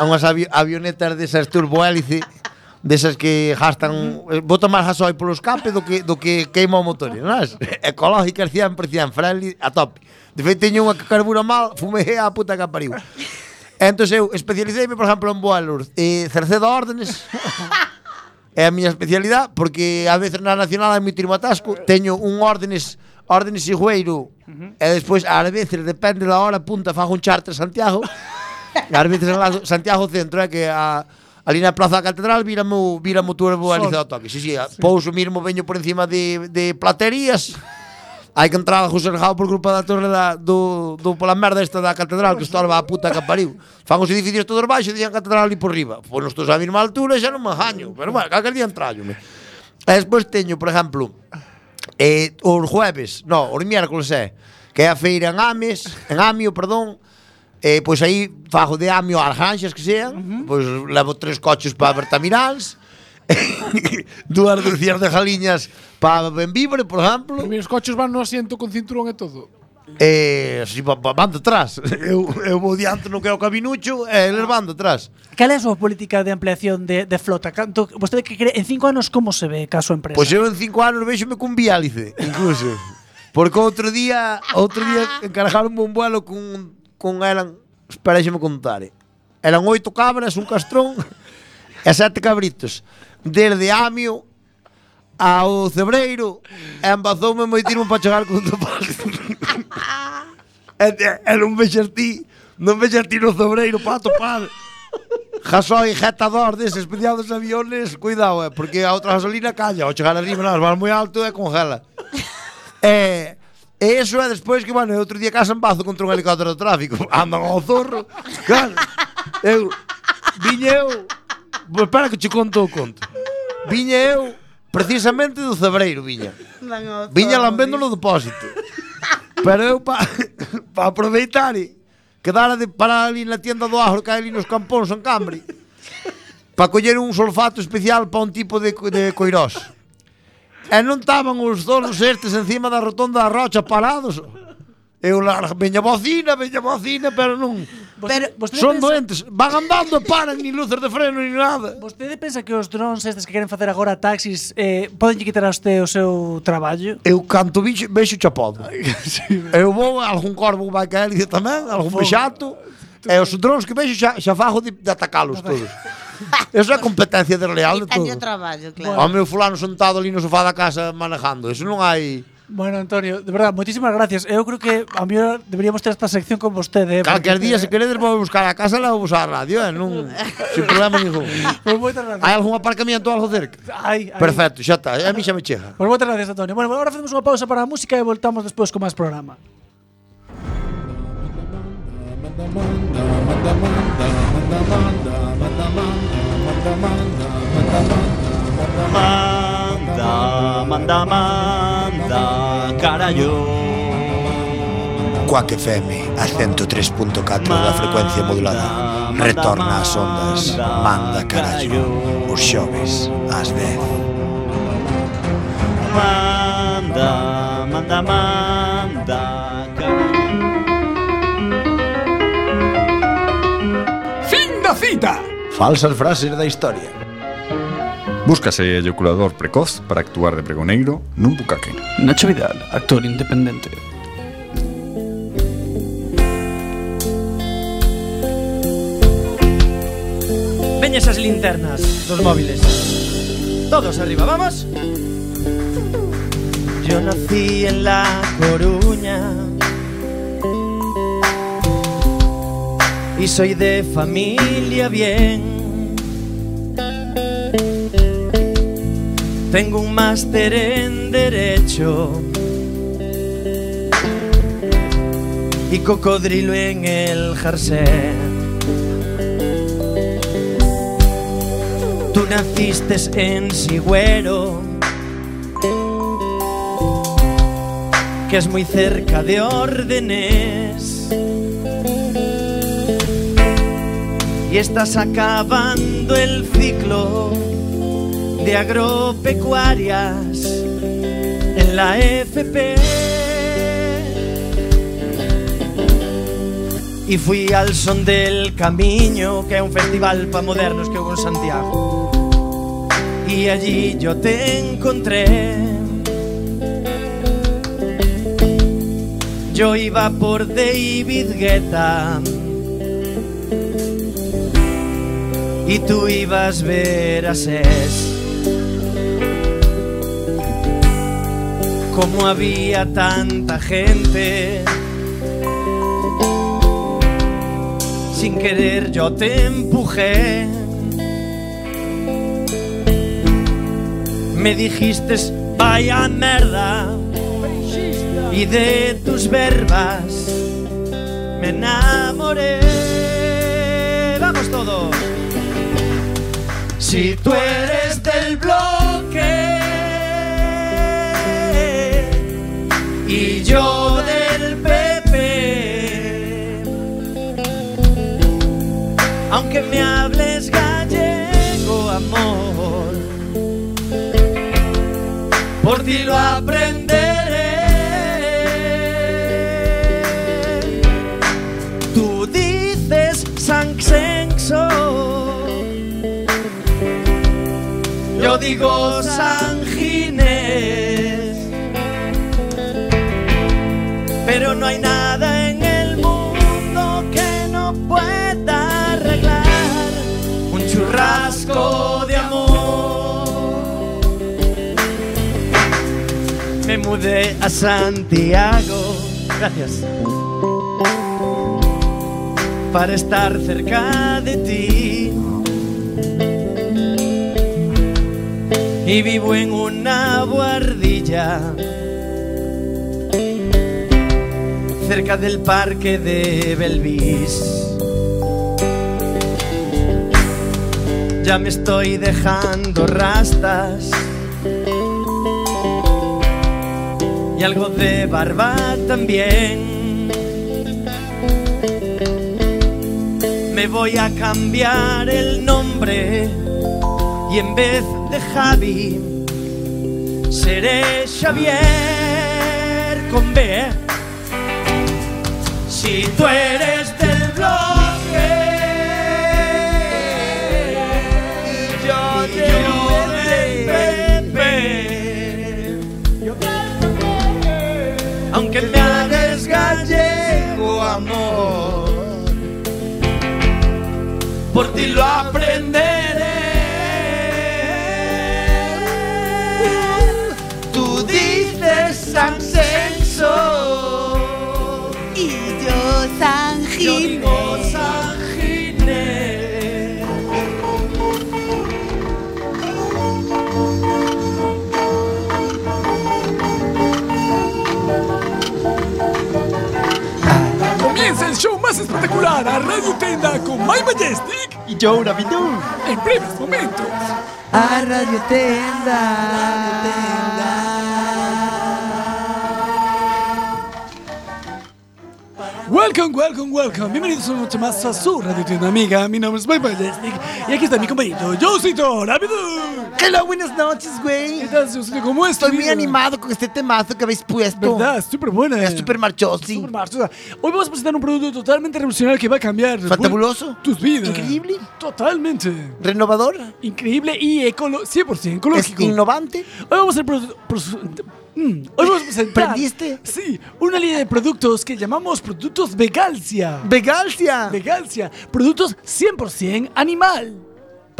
S4: A unhas avi avionetas desas turbohélice Desas que gastan eh, Bota máis gasoi polo escape Do que, do que queima o motor non es? Ecológicas 100% friendly A top De feito teño unha que carbura mal Fumei a puta que a pariu Entón eu especialiceime, por exemplo, en vuelos eh, Cercedo órdenes é a miña especialidade porque a veces na nacional é moi matasco, teño un órdenes órdenes e jueiro e despois ás veces depende da hora punta fago un charter a Santiago ás veces en la- Santiago centro é que a Ali na Plaza da Catedral vírame o, vírame o turbo alizado toque. Si, si, a- pouso mirmo veño por encima de, de platerías. Hai que entrar a Jao por culpa da torre da, do, do pola merda esta da catedral que estorba a puta que pariu. Fan os edificios todos baixos e dixen catedral ali por riba. Pois nos todos a mesma altura e xa non me ajaño, pero bueno, calquer día entrallo. E despois teño, por exemplo, eh, os jueves, no, os miércoles é, que é a feira en Ames, en Amio, perdón, eh, pois aí fajo de Amio ás ranxas que sean, pois levo tres coches para Bertamiráns, dúas dúcias de jaliñas para Benvibre, por exemplo,
S8: Os meus coches van no asiento con cinturón e todo.
S4: Eh, si van, van detrás. Eu, eu vou diante, non quero cabinucho, e eles van detrás.
S1: Cal é a súa política de ampliación de, de flota? Canto, vostede que cree en cinco anos como se ve ca súa empresa?
S4: Pois eu Pues en cinco anos vexome cun viálice, incluso. Porque outro día, outro día encargaronme un vuelo con, con eran, esperáxeme contar. eh. Eran oito cabras, un castrón e sete cabritos. Desde Amio ao Cebreiro, e embazoume moitirmo para chegar con topal. E, e, e non vexas ti Non vexas ti no sobreiro para topar Gasoi, jetador deses peñados aviones Cuidado, eh, porque a outra gasolina calla Ao chegar arriba, nas vas moi alto e congela E... E eso é despois que, bueno, eu outro día casa en bazo contra un helicóptero de tráfico. Andan ao zorro. Claro. Eu... Viña eu... Pois espera que che conto o conto. Viña eu precisamente do Cebreiro, viña. Viña lambendo no depósito. Pero eu pa, pa aproveitar e quedara de parar ali na tienda do Agro que hai ali nos campóns en Cambre pa coller un solfato especial pa un tipo de, co- de coirós. E non estaban os zorros estes encima da rotonda da rocha parados. Eu la veña bocina, veña bocina, pero non.
S1: Vos-
S7: pero
S1: vostede
S4: Son
S1: pensa-
S4: doentes, van andando e paran, ni luces de freno, ni nada.
S1: Vostede pensa que os drones estes que queren facer agora taxis eh, poden quitar a usted o seu traballo?
S4: Eu canto bicho, vexo chapado. Eu vou, algún corvo vai caer ali tamén, algún peixato. E os drons que vexo xa, xa fago de, de atacalos todos. Eso é competencia desleal de todo.
S7: Quitanlle o traballo,
S4: O
S7: claro.
S4: meu fulano sentado ali no sofá da casa manejando. Eso non hai...
S1: Bueno, Antonio, de verdad, moitísimas gracias. Eu creo que a mí deberíamos ter esta sección con vostede. eh,
S4: Calquer
S1: porque-
S4: día, se queredes, vou buscar a casa e la vou a radio, eh? non, sin problema ningún.
S1: Pois moitas gracias.
S4: Hai algún aparcamiento algo cerca?
S1: Ai, ai.
S4: Perfecto, xa está, a mí xa me chega.
S1: Pois moitas gracias, Antonio. Bueno, agora facemos unha pausa para a música e voltamos despois con máis programa.
S11: Manda, manda, manda, carallo
S4: Cuac FM, a 103.4 da frecuencia modulada. Retorna ás ondas, manda carallo, os xoves, ás 10.
S11: Manda, manda, manda
S12: Fin da cita.
S13: Falsas frases da historia.
S14: Búscase eyaculador precoz para actuar de pregoneiro nun bucaque.
S12: Nacho Vidal, actor independente.
S5: Ven esas linternas, los móviles. Todos arriba, vamos. Yo nací en La Coruña. Y soy de familia bien. Tengo un máster en Derecho. Y cocodrilo en el jersey. Tú naciste en Sigüero, que es muy cerca de órdenes. Y estás acabando el ciclo de agropecuarias en la FP. Y fui al son del camino, que es un festival para modernos que hubo en Santiago y allí yo te encontré. Yo iba por David Guetta y tú ibas Verasés. Como había tanta gente, sin querer yo te empujé. me dijiste vaya merda y de tus verbas me enamoré. Vamos todos. Si tú eres del bloque y yo del PP, aunque me hables gallego, amor por ti lo aprenderé. Tú dices San Xenxo, yo digo San Ginés, pero no hay nada en el mundo que no pueda arreglar un churrasco de amor. Me mudé a Santiago. Gracias. Para estar cerca de ti. Y vivo en una guardilla. Cerca del parque de Belvis. Ya me estoy dejando rastas. y algo de barba también. Me voy a cambiar el nombre y en vez de Javi seré Xavier con B. ¿eh? Si tú eres del bloque y yo, del PP, aunque me hagas gallego, amor, por ti lo aprenderé. Tú dices San
S15: Majestic e Joura Bidou en breves momentos.
S16: A Radio
S1: Welcome, welcome, welcome. Bienvenidos una noche más a su radio tienda amiga. Mi nombre es Mike Majestic y aquí está mi compañero Josito Rápido.
S4: Hello, buenas noches, güey. ¿Qué
S1: tal, Josito? ¿Cómo estás?
S4: Estoy muy animado con este temazo que habéis puesto.
S1: ¿Verdad? Súper buena.
S4: Es súper marchoso.
S1: Súper marchosa. Hoy vamos a presentar un producto totalmente revolucionario que va a cambiar.
S4: Fantabuloso.
S1: bu- Tus vidas.
S4: Increíble.
S1: Totalmente.
S4: Renovador.
S1: Increíble y ecolo 100% ecológico.
S4: Es innovante.
S1: Hoy vamos a produ- produ- Mm, Hoy vamos a presentar.
S4: ¿Prendiste?
S1: Sí, una línea de productos que llamamos productos Vegalcia.
S4: ¡Vegalcia!
S1: Vegalcia. Productos 100% animal.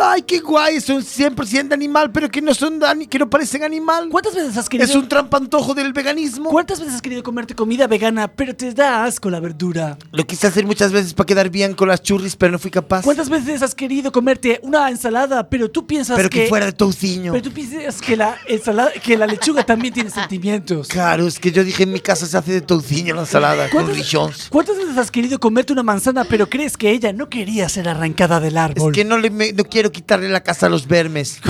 S4: Ay, qué guay, son 100% animal, pero que no son ani- que no parecen animal.
S1: ¿Cuántas veces has querido?
S4: Es un trampantojo del veganismo.
S1: ¿Cuántas veces has querido comerte comida vegana, pero te da asco la verdura?
S4: Lo quise hacer muchas veces para quedar bien con las churris, pero no fui capaz.
S1: ¿Cuántas veces has querido comerte una ensalada, pero tú piensas
S4: Pero
S1: que,
S4: que fuera de touciño.
S1: Pero tú piensas que la ensalada, que la lechuga también tiene sentimientos.
S4: Claro, es que yo dije en mi casa se hace de touciño la ensalada con
S1: ¿Cuántas-
S4: richones.
S1: ¿Cuántas veces has querido comerte una manzana, pero crees que ella no quería ser arrancada del árbol?
S4: Es que no, le, me- no quiero quitarle la casa a los vermes.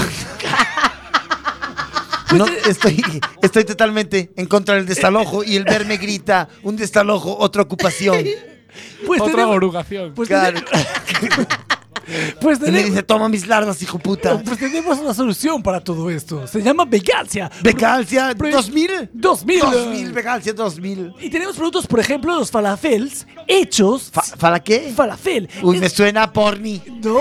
S4: No, estoy, estoy totalmente en contra del desalojo y el verme grita un desalojo, otra ocupación.
S1: Pues
S8: Otra
S1: tenemos-
S8: orugación.
S1: Pues
S4: Claro.
S1: Pues
S4: Y me
S1: tenemos-
S4: dice, toma mis larvas, hijo puta.
S1: Pues tenemos una solución para todo esto. Se llama Vegancia.
S4: Vegancia,
S1: pues,
S4: 2000.
S1: 2000.
S4: 2000, Vegancia 2000.
S1: Y tenemos productos, por ejemplo, los falafels hechos.
S4: ¿Fala qué?
S1: Falafel.
S4: Uy,
S1: Es-
S4: me suena a porni.
S1: No.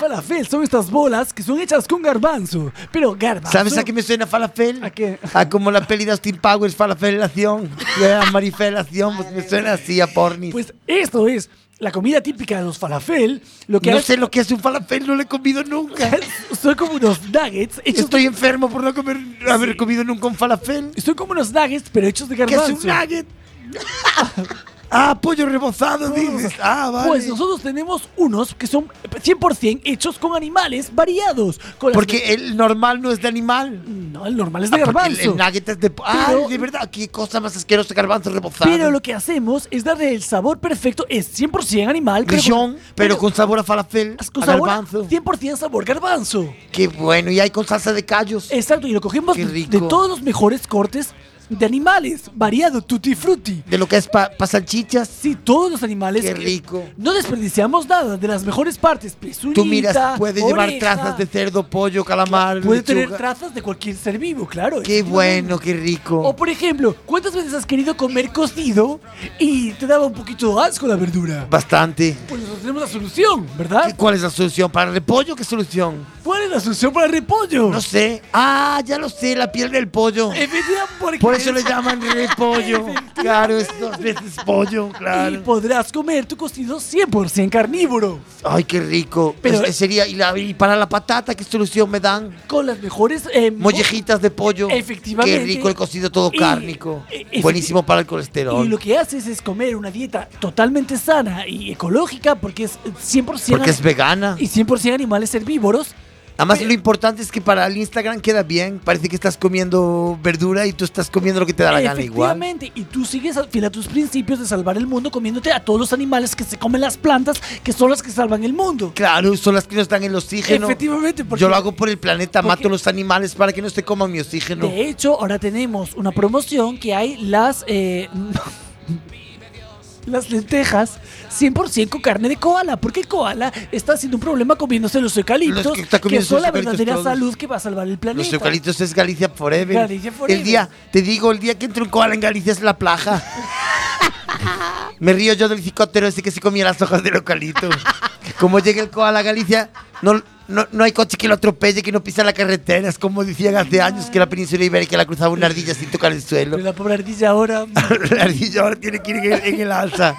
S1: falafel son estas bolas que son hechas con garbanzo. Pero garbanzo.
S4: ¿Sabes a qué me suena falafel? ¿A
S1: qué?
S4: A como la peli de Austin Powers, falafelación. Y a marifelación, pues me suena así a porni.
S1: Pues esto es la comida típica de los falafel. Lo que
S4: no
S1: hace-
S4: sé lo que es un falafel, no lo he comido nunca.
S1: Son como unos nuggets hechos.
S4: Estoy enfermo por no comer, haber comido nunca un falafel.
S1: Son como unos nuggets, pero hechos de
S4: ¿Qué es
S1: garbanzo.
S4: un nugget? ah, pollo rebozado, dices. Ah, vale.
S1: Oh. Pues nosotros tenemos unos que son 100% hechos con animales variados. Con las
S4: porque el normal no es de animal.
S1: No, el normal es
S4: Ah,
S1: de
S4: porque
S1: garbanzo.
S4: El, el nugget es de. Ah,
S1: Pero-
S4: de verdad, qué cosa más asquerosa, garbanzo rebozado.
S1: Pero lo que hacemos es darle el sabor perfecto, es 100% animal. pero
S4: Grichón, pero, con sabor a falafel,
S1: con
S4: a
S1: sabor,
S4: garbanzo.
S1: 100% sabor garbanzo.
S4: Qué bueno, y hay con salsa de callos.
S1: Exacto, y lo cogemos
S4: Qué
S1: de
S4: rico.
S1: de todos los mejores cortes de animales, variado, tutti frutti.
S4: De lo que es para salchichas.
S1: Sí, todos los animales.
S4: Qué
S1: que-
S4: rico.
S1: No desperdiciamos nada de las mejores partes. Pezuñita,
S4: Tú miras, puede llevar
S1: oreja.
S4: trazas de cerdo, pollo, calamar,
S1: Puede tener
S4: lechuga.
S1: trazas de cualquier ser vivo, claro.
S4: Qué bueno, qué
S1: O
S4: rico.
S1: por ejemplo, ¿cuántas veces has querido comer cocido y te daba un poquito de asco la verdura?
S4: Bastante.
S1: Pues nosotros tenemos la solución, ¿verdad?
S4: ¿Y ¿Cuál es la solución? ¿Para el repollo qué solución?
S1: ¿Cuál es la solución para el repollo?
S4: No sé. Ah, ya lo sé, la piel del pollo.
S1: Efectivamente, porque-
S4: Por eso le llaman repollo. Claro, es dos veces pollo,
S1: Y
S4: claro.
S1: podrás comer tu cocido 100% carnívoro.
S4: Ay, qué rico.
S1: Pero-
S4: Pero sería y, la- y para la patata qué solución me dan?
S1: Con las mejores... eh, mo-
S4: Mollejitas de pollo.
S1: Efectivamente.
S4: Qué rico el cocido todo
S1: Y-
S4: cárnico.
S1: e- efecti-
S4: Buenísimo para el colesterol.
S1: Y lo que haces es comer una dieta totalmente sana y ecológica porque es 100%
S4: Porque es vegana.
S1: Ah. y 100% animales herbívoros.
S4: Además, lo importante es que para el Instagram queda bien. Parece que estás comiendo verdura y tú estás comiendo lo que te da la gana igual.
S1: Efectivamente, y tú sigues al fiel a tus principios de salvar el mundo comiéndote a todos los animales que se comen las plantas, que son las que salvan el mundo.
S4: Claro, son las que nos dan el oxígeno.
S1: Efectivamente, porque-
S4: Yo lo hago por el planeta,
S1: porque-
S4: mato los animales para que no se coman mi oxígeno.
S1: De hecho, ahora tenemos una promoción que hay las eh, las lentejas 100% con carne de koala, porque el koala está haciendo un problema comiéndose los eucaliptos,
S4: Los que está
S1: que,
S4: comiendo
S1: son
S4: los
S1: la
S4: eucaliptos
S1: verdadera
S4: todos.
S1: salud que va a salvar el planeta.
S4: Los eucaliptos es Galicia forever.
S1: Galicia forever.
S4: El día, te digo, el día que entró un koala en Galicia es la plaja. Me río yo del psicóptero ese que se comía las hojas del eucalipto. Como llega el koala a Galicia, no, no, no hay coche que lo atropelle, que no pisa la carretera. Es como decían hace años que la península ibérica la cruzaba una ardilla sin tocar el suelo.
S1: Pero la pobre ardilla ahora...
S4: La ardilla ahora tiene que ir en el, en el alza.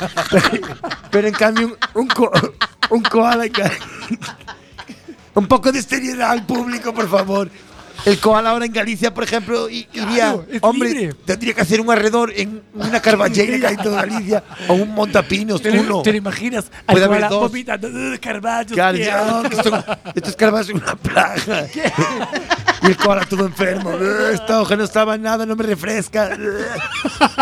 S4: Pero en cambio, un, un, ko- un koala. en Ga- Un poco de seriedad al público, por favor. El koala ahora en Galicia, por ejemplo, i- iría.
S1: Claro, es
S4: hombre,
S1: libre.
S4: tendría que hacer un alrededor en una carballera en toda Galicia. O un montapinos,
S1: ¿Te, lo-
S4: uno.
S1: te lo imaginas? Al
S4: Puede haber
S1: koala
S4: dos.
S1: vomitando, "Ugh, carballos,
S4: Claro, "Ah,
S1: qué
S4: ya, no,
S1: asco".
S4: que son- estos carvallos son una plaga. Y el koala estuvo enfermo. Eh, Esta hoja no estaba en nada, no me refresca. Eh,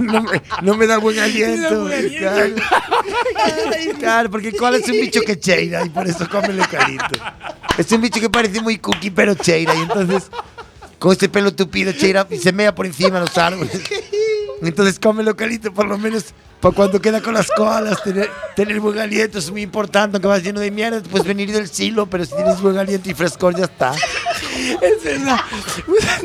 S4: No me, no me da buen aliento. Claro. Claro, porque el koala es un bicho que cheira y por eso come el eucalipto. Es un bicho que parece muy cookie, pero cheira. Y entonces, con este pelo tupido, cheira y se mea por encima de los árboles. Entonces come el eucalipto por lo menos para cuando queda con las koalas. Tener, tener buen aliento es muy importante, aunque vas lleno de mierda, puedes venir del silo, pero si tienes buen aliento y frescor ya está.
S1: Es verdad.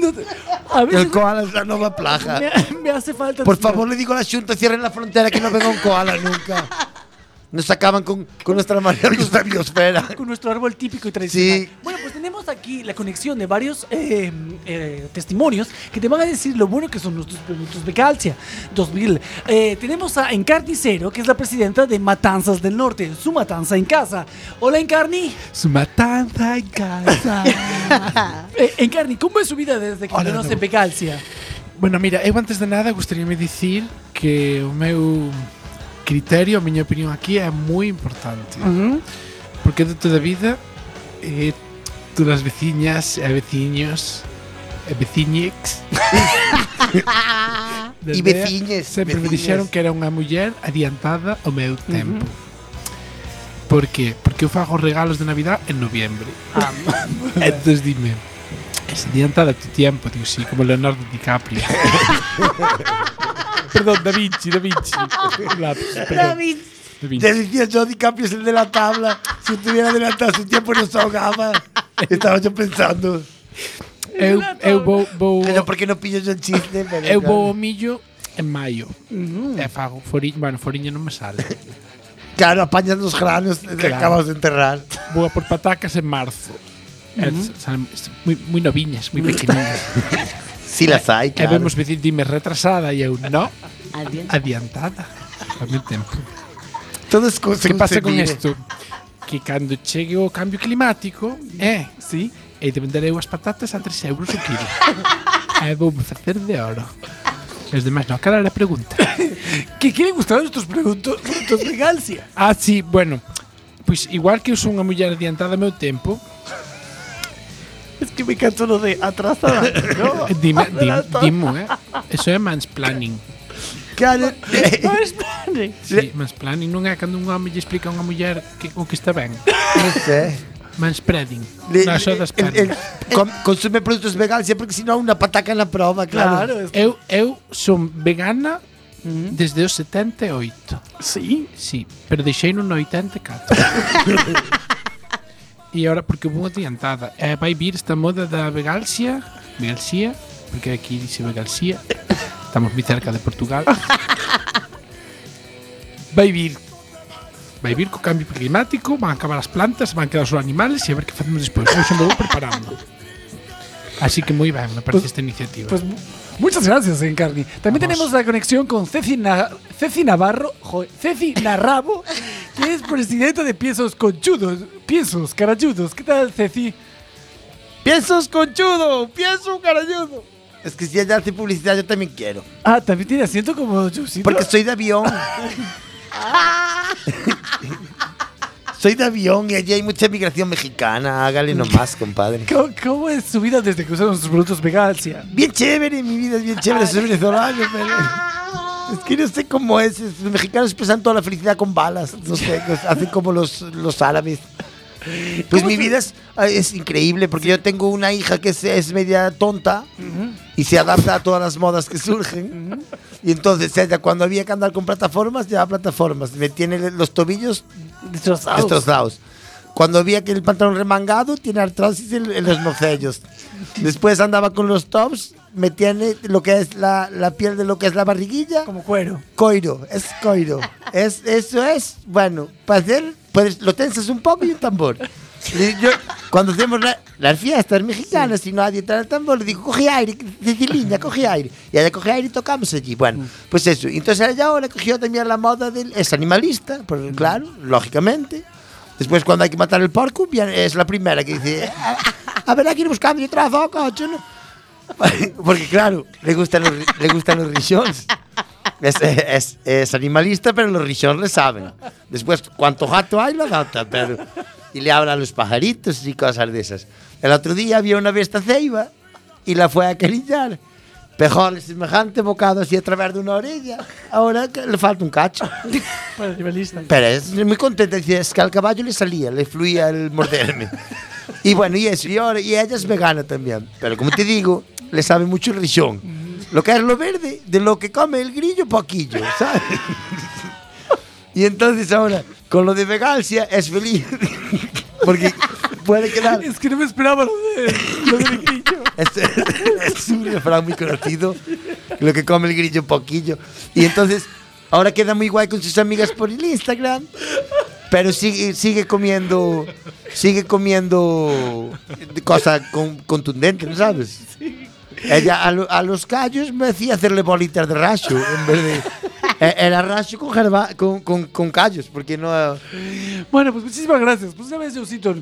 S1: No te- a veces
S4: El koala es la nueva plaja.
S1: me, me hace falta.
S4: Por
S1: tío.
S4: favor, le digo a la Junta, cierren la frontera, que no venga un koala nunca. Nos acaban con, con nuestra maravillosa biosfera.
S1: Con nuestro árbol típico y tradicional. Bueno, pues tenemos aquí la conexión de varios eh, eh, testimonios que te van a decir lo bueno que son nuestros productos de Calcia 2000. Eh, tenemos a Encarni Cero, que es la presidenta de Matanzas del Norte, su matanza en casa. Hola, Encarni.
S8: Su matanza en casa.
S1: Eh, Encarni, ¿cómo es su vida desde que
S8: Hola,
S1: conoce
S8: Débora.
S1: Pecalcia?
S8: Bueno, mira, eu antes de nada gostaríame dicir que o meu criterio, a miña opinión aquí é moi importante.
S1: Uh -huh.
S8: Porque de toda a vida eh, todas as veciñas e veciños e veciñex da
S4: E
S8: aldea
S4: veciñes,
S8: sempre me
S4: veciñes.
S8: dixeron que era unha muller adiantada ao meu tempo. Por que? Porque eu fago regalos de Navidad en noviembre.
S4: Ah.
S8: Entonces dime, es adiantada a tu tiempo, digo, sí, como Leonardo DiCaprio. perdón, Da Vinci, Da Vinci. Lapsus, perdón. Da Vinci.
S4: Te decía yo, DiCaprio es el de la tabla. Si estuviera adelantado su tiempo, nos ahogaba. Estaba yo pensando.
S8: Eu, eu vou, vou
S4: Pero porque no pillo yo el chiste. pero
S8: Eu
S4: claro.
S8: vou ao millo en maio. E fago foriño, bueno, foriño non me sale.
S4: Claro, apañas los granos que acabas de enterrar.
S8: Vou a por patacas en marzo. E
S4: Ujú.
S8: salen moi, moi noviñas, moi pequeniñas.
S4: Si las hay,
S8: E
S4: claro.
S8: vemos dicir, dime retrasada e eu, no, adiantada. Ao meu tempo.
S4: Todo es cosa
S8: que pasa con
S4: concebir.
S8: isto? Que cando chegue o cambio climático, é, sí, e de vender eu as patatas a 3 euros o quilo. e vou me facer de oro. E os demais, no, cara era a pregunta.
S1: ¿Qué quiere gustar nuestros productos, productos de Calcia?
S8: Ah, sí, bueno. Pois igual que eu son unha muller adiantada ao meu tempo,
S1: Es que me canso lo de atrasada. ¿no?
S8: eh, dime, dime, dimo, eh. Eso é mansplaining.
S4: Claro.
S8: Sí, mansplaining non é cando un home lle explica a unha muller que, o que está ben.
S4: Non sei.
S8: Manspreading.
S4: Le-
S8: Non, só das
S4: el- el-
S8: pernas.
S4: com- consume productos veganos porque si no una pataca en la proba, claro.
S8: Eu, eu son vegana desde os 78.
S1: Sí?
S8: Sí, pero deixei no 84. e ahora porque vou adiantada. Eh, vai vir esta moda da vegalsia, vegalsia, porque aquí dice vegalsia. Estamos moi cerca de Portugal. vai vir vai vir co cambio climático, van acabar as plantas, van quedar os animales e a ver que facemos despois. Eu xa me vou preparando. Así que moi ben, me parece esta iniciativa.
S1: Pues mu- muchas gracias, Encarni. También tenemos la conexión con Ceci, Na- Ceci Navarro, jo- Ceci Narrabo, que es presidenta de Piezos Conchudos, Piezos Carayudos. ¿Qué tal, Ceci?
S4: Piezos Conchudo, pienso carayudo. Es que si ella hace publicidad, yo también quiero.
S1: Ah, también tiene asiento como Jusito.
S4: Porque soy de avión. soy de avión y allí hay mucha migración mexicana. Hágale nomás, compadre.
S1: ¿Cómo, cómo es su vida desde que usaron nuestros productos Vegalcia?
S4: Bien chévere, mi vida es bien chévere. Soy venezolano, pero. Es que no sé cómo es. es- Los mexicanos expresan toda la felicidad con balas. No sé, pues, hacen como los, los árabes. Pues mi vida es, es increíble porque yo tengo una hija que es, es media tonta y se adapta a todas las modas que surgen. Y entonces ella cuando había que andar con plataformas, llevaba plataformas. Me tiene los tobillos
S1: destrozados.
S4: Cuando había que el pantalón remangado, tiene artrosis en, en los nocellos. Después andaba con los tops, me tiene lo que es la, la piel de lo que es la barriguilla. Como
S1: cuero.
S4: Coiro, es coiro. es, eso es, bueno, para hacer, puedes, lo tensas un poco y un tambor. Le- yo- cuando hacemos la- las fiestas mexicanas y nadie trae el tambor, le digo, coge aire, Cecilina, coge aire. Y ella coge aire y tocamos allí. Bueno, pues eso. Y Entonces ella ahora cogió también la moda del... Es animalista, por- claro, lógicamente. Después cuando hay que matar el porco, viene- es la primera que dice, a, a ver, aquí buscamos yo trabajo, coche, ¿no?". Porque claro, le gustan los, ri- le gustan los richones. Es, es- es animalista, pero los richones le saben. Después, cuánto gato hay, lo adapta, pero...
S17: y le habla a los pajaritos y cosas de esas. El otro día había una besta ceiba y la fue a acariciar. Pejóle semejante bocado así a través de una orilla. Ahora que le falta un cacho. Pero es muy contenta. Dice, es que al caballo le salía, le fluía el morderme. y bueno, y eso. Y, ahora, y ella es vegana también. Pero como te digo, le sabe mucho el rizón. Lo que es lo verde, de lo que come el grillo, poquillo, ¿sabes? y entonces ahora, con lo de vegancia, es feliz. Porque puede quedar...
S1: Es que no me esperaba lo de, lo de grillo.
S17: Es, Este, es un refrán muy conocido. Lo que come el grillo poquillo. Y entonces, ahora queda muy guay con sus amigas por el Instagram. Pero sigue, sigue comiendo. Sigue comiendo cosa con- contundente, ¿no sabes? Ella a, lo- a los callos me hacía hacerle bolitas de raso en vez de. e- Era raso con, jerba- con, con- con callos, porque no.
S1: Bueno, pues muchísimas gracias. Pues ya ves, Josito,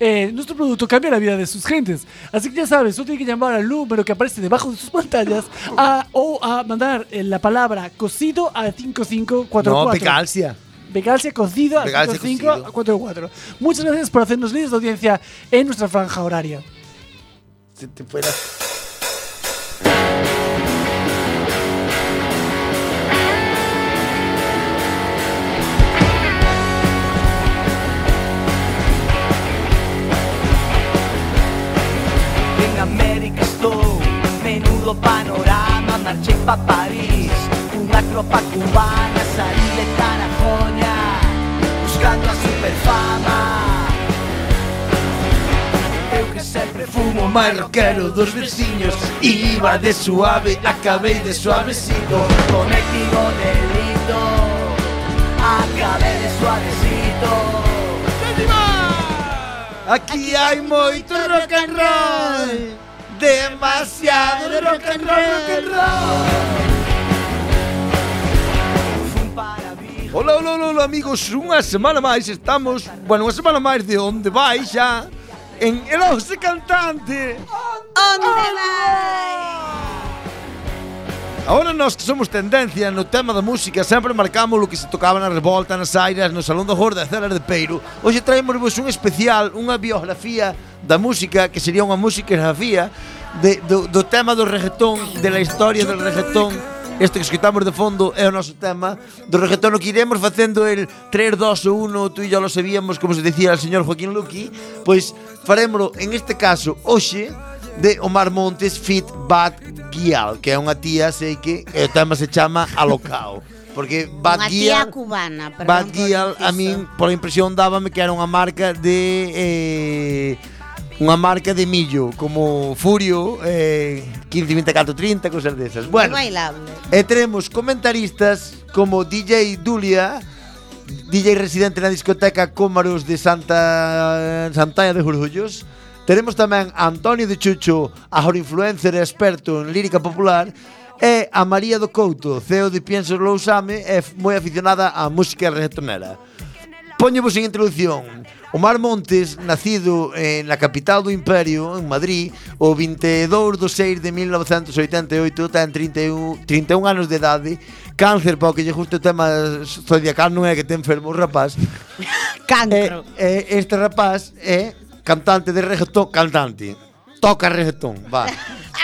S1: eh, nuestro producto cambia la vida de sus gentes. Así que ya sabes, tú tienes que llamar al número que aparece debajo de sus pantallas a- o a mandar eh, la palabra cocido a 5544.
S17: No, pecalcia.
S1: Becalcia cocido a
S17: Becalcia
S1: 5544. Muchas gracias por hacernos líderes de audiencia en nuestra franja horaria.
S17: Se te fuera.
S5: En América estoy, menudo panorama, marché pa' París, una tropa cubana, salí de Tarajoña, buscando a superfama. Eu que sempre
S18: Fumo máis rockero dos veciños Iba de suave, acabei de suavecito
S5: cometido delito, acabé de suavecito.
S18: Aquí hai moito rock and roll Demasiado rock and roll, rock and roll
S4: Hola, hola, hola, hola, amigos. Unha semana máis estamos, bueno, unha semana máis de onde vai xa en El Ouse Cantante.
S7: Onde vai?
S4: Ahora nós que somos tendencia no tema da música sempre marcamos o que se tocaba na revolta, nas airas, no Salón do Gorda, Celas de Peiro. Hoxe traemos un especial, unha biografía da música, que sería unha música grafía de, do, do tema do reggaetón, de la historia del reggaetón. Este que escutamos de fondo é o noso tema do reggaetón, o que iremos facendo el 3, 2, 1, tú e yo lo sabíamos, como se decía el señor Joaquín Luqui, pois farémolo en este caso hoxe de Omar Montes Fit Bad Gial, que é unha tía, sei que o tema se chama Alocao. Porque Bad
S7: Unha tía
S4: Gial,
S7: cubana, perdón.
S4: Bad
S7: por
S4: Gial a min
S7: inciso.
S4: por a impresión dábame que era unha marca de eh, unha marca de millo, como Furio, eh, 15, 24, 30, cosas desas. Bueno,
S7: Moi bailable.
S4: E teremos comentaristas como DJ Dulia, DJ residente na discoteca Cómaros de Santa Santana de Jorullos. Teremos tamén a Antonio de Chucho, agora influencer e experto en lírica popular, e a María do Couto, CEO de Piensos Lousame e f- moi aficionada á música reggaetonera. Póñevos en introducción. Omar Montes, nacido en la capital do Imperio, en Madrid, o 22 de 6 de 1988, ten 31, 31 anos de idade, cáncer, para o que lle guste o tema zodiacal non é que te enfermo o rapaz.
S7: Cancro.
S4: Eh, eh, este rapaz é cantante de reggaetón, cantante. Toca reggaetón, va.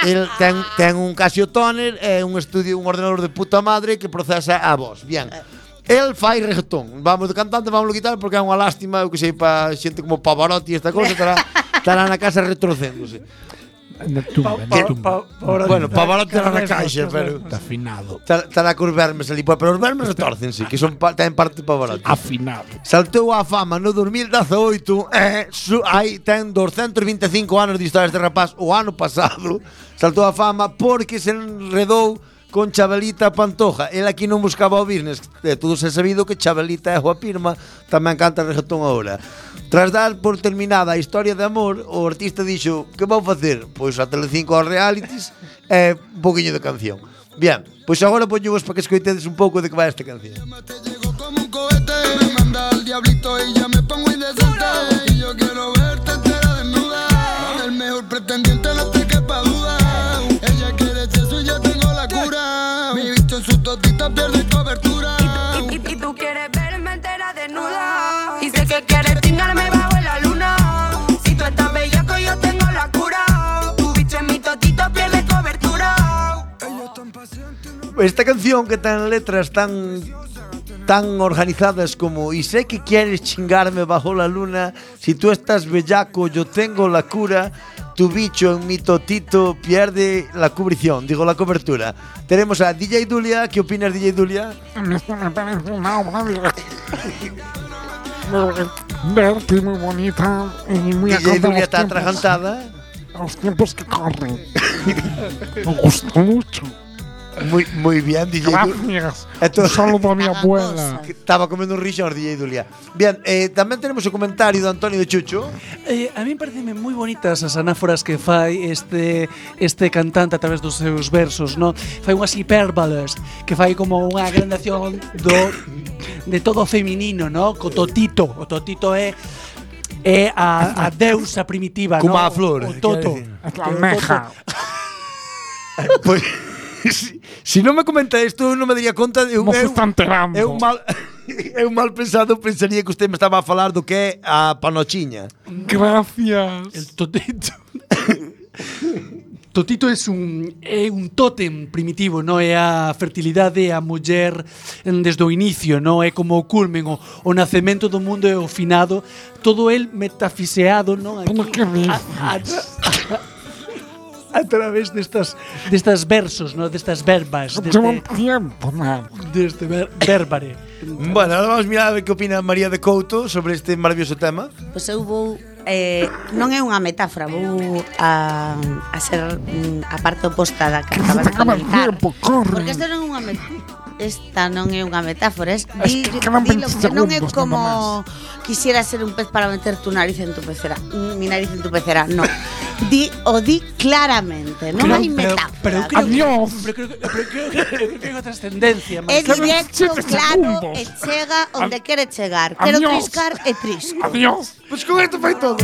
S4: El ten, ten un Casio Toner e un estudio, un ordenador de puta madre que procesa a voz. Bien. El fai reggaetón. Vamos de cantante, vamos a quitar porque é unha lástima, eu que sei, pa xente como Pavarotti e esta cousa, estará, estará na casa retrocéndose.
S8: Na tumba,
S4: na tumba. bueno, Pavarotti era na caixa, pero...
S8: Está afinado.
S4: Estará cos vermes ali, Pues, pero os vermes retórcense, que son pa, ten parte Pavarotti.
S8: Afinado.
S4: Saltou a fama no 2018 eh, su, Aí ten 225 anos de historia este rapaz O ano pasado Saltou a fama porque se enredou Con Chabelita Pantoja El aquí non buscaba o business Eh, De todos é sabido que Chabelita é a pirma Tamén canta reggaetón agora Tras dar por terminada a historia de amor O artista dixo Que vou facer? Pois a Telecinco aos realities E un poquinho de canción Bien, pois agora poñevos para que escoitedes un pouco de que vai esta canción
S19: Me manda al diablito y ya me pongo indecente. Y yo quiero verte entera desnuda. El mejor pretendiente no te quepa duda. Ella quiere eso y yo tengo la cura. Mi bicho en su totita pierde cobertura.
S20: Y tú quieres verme entera desnuda. Y sé que quieres tingarme bajo la luz.
S4: esta canción que tan letras tan tan organizadas como y sé que quieres chingarme bajo la luna, si tú estás bellaco yo tengo la cura, tu bicho en mi totito pierde la cubrición, digo la cobertura. Tenemos a DJ Dulia, ¿qué opinas DJ Dulia?
S21: Verte muy bonita y muy
S4: DJ
S21: acorde a
S4: Dulia
S21: los
S4: está
S21: tiempos-
S4: atragantada.
S21: A los tiempos que corren. Me gusta mucho.
S4: Muy, muy bien, DJ Dulia.
S21: Gracias. Un saludo a mi abuela.
S4: Estaba comiendo un Richard DJ Dulia. Bien, eh, también tenemos un comentario de Antonio de Chucho.
S1: Eh, a mí pareceme moi bonitas as anáforas que fai este este cantante a través dos seus versos, no? Fai unhas hipérboles que fai como unha agrandación do de todo o feminino, no? Co totito, o totito é é a, a deusa primitiva,
S4: Como
S1: no?
S4: a flor,
S1: o toto.
S4: quero dicir.
S1: Que o
S4: Almeja.
S1: toto-
S4: Pois Pues, si, si non me comenta isto, eu non me daría conta de un
S21: Non se está enterando.
S4: É un mal é un mal pensado, pensaría que usted me estaba a falar do que é a panochiña.
S21: Gracias.
S1: El totito. Totito é un é un tótem primitivo, non é a fertilidade a muller en- desde o inicio, non é como o culmen, o, o nacemento do mundo é o finado, todo el metafiseado, non aquí, a, a, a, a través destas destas versos, non, destas verbas, deste
S21: Llevo un tiempo, man.
S1: deste ver, verbare.
S4: Bueno, ahora vamos a mirar a ver que opina María de Couto sobre este maravilloso tema.
S7: Pois eu vou eh, non é unha metáfora, vou a, a ser mm, a parte oposta da que acabas de comentar. Porque isto non é unha metáfora. Esta non é unha metáfora, es di,
S21: quedan
S7: dilo,
S21: 20
S7: porque non é
S21: segundos,
S7: como quisiera ser un pez para meter tu nariz en tu pecera, mm, mi nariz en tu pecera, no. Di, o di claramente, non
S1: Creo-
S7: hai
S1: pero- Pero
S7: metáfora.
S1: eu creo que pero creo que pero creo que- creo que ten outra tendencia,
S7: É directo, claro, e chega onde quere chegar. Quero
S1: Adiós.
S7: triscar e trisco.
S21: Adiós.
S4: Pois con isto foi todo.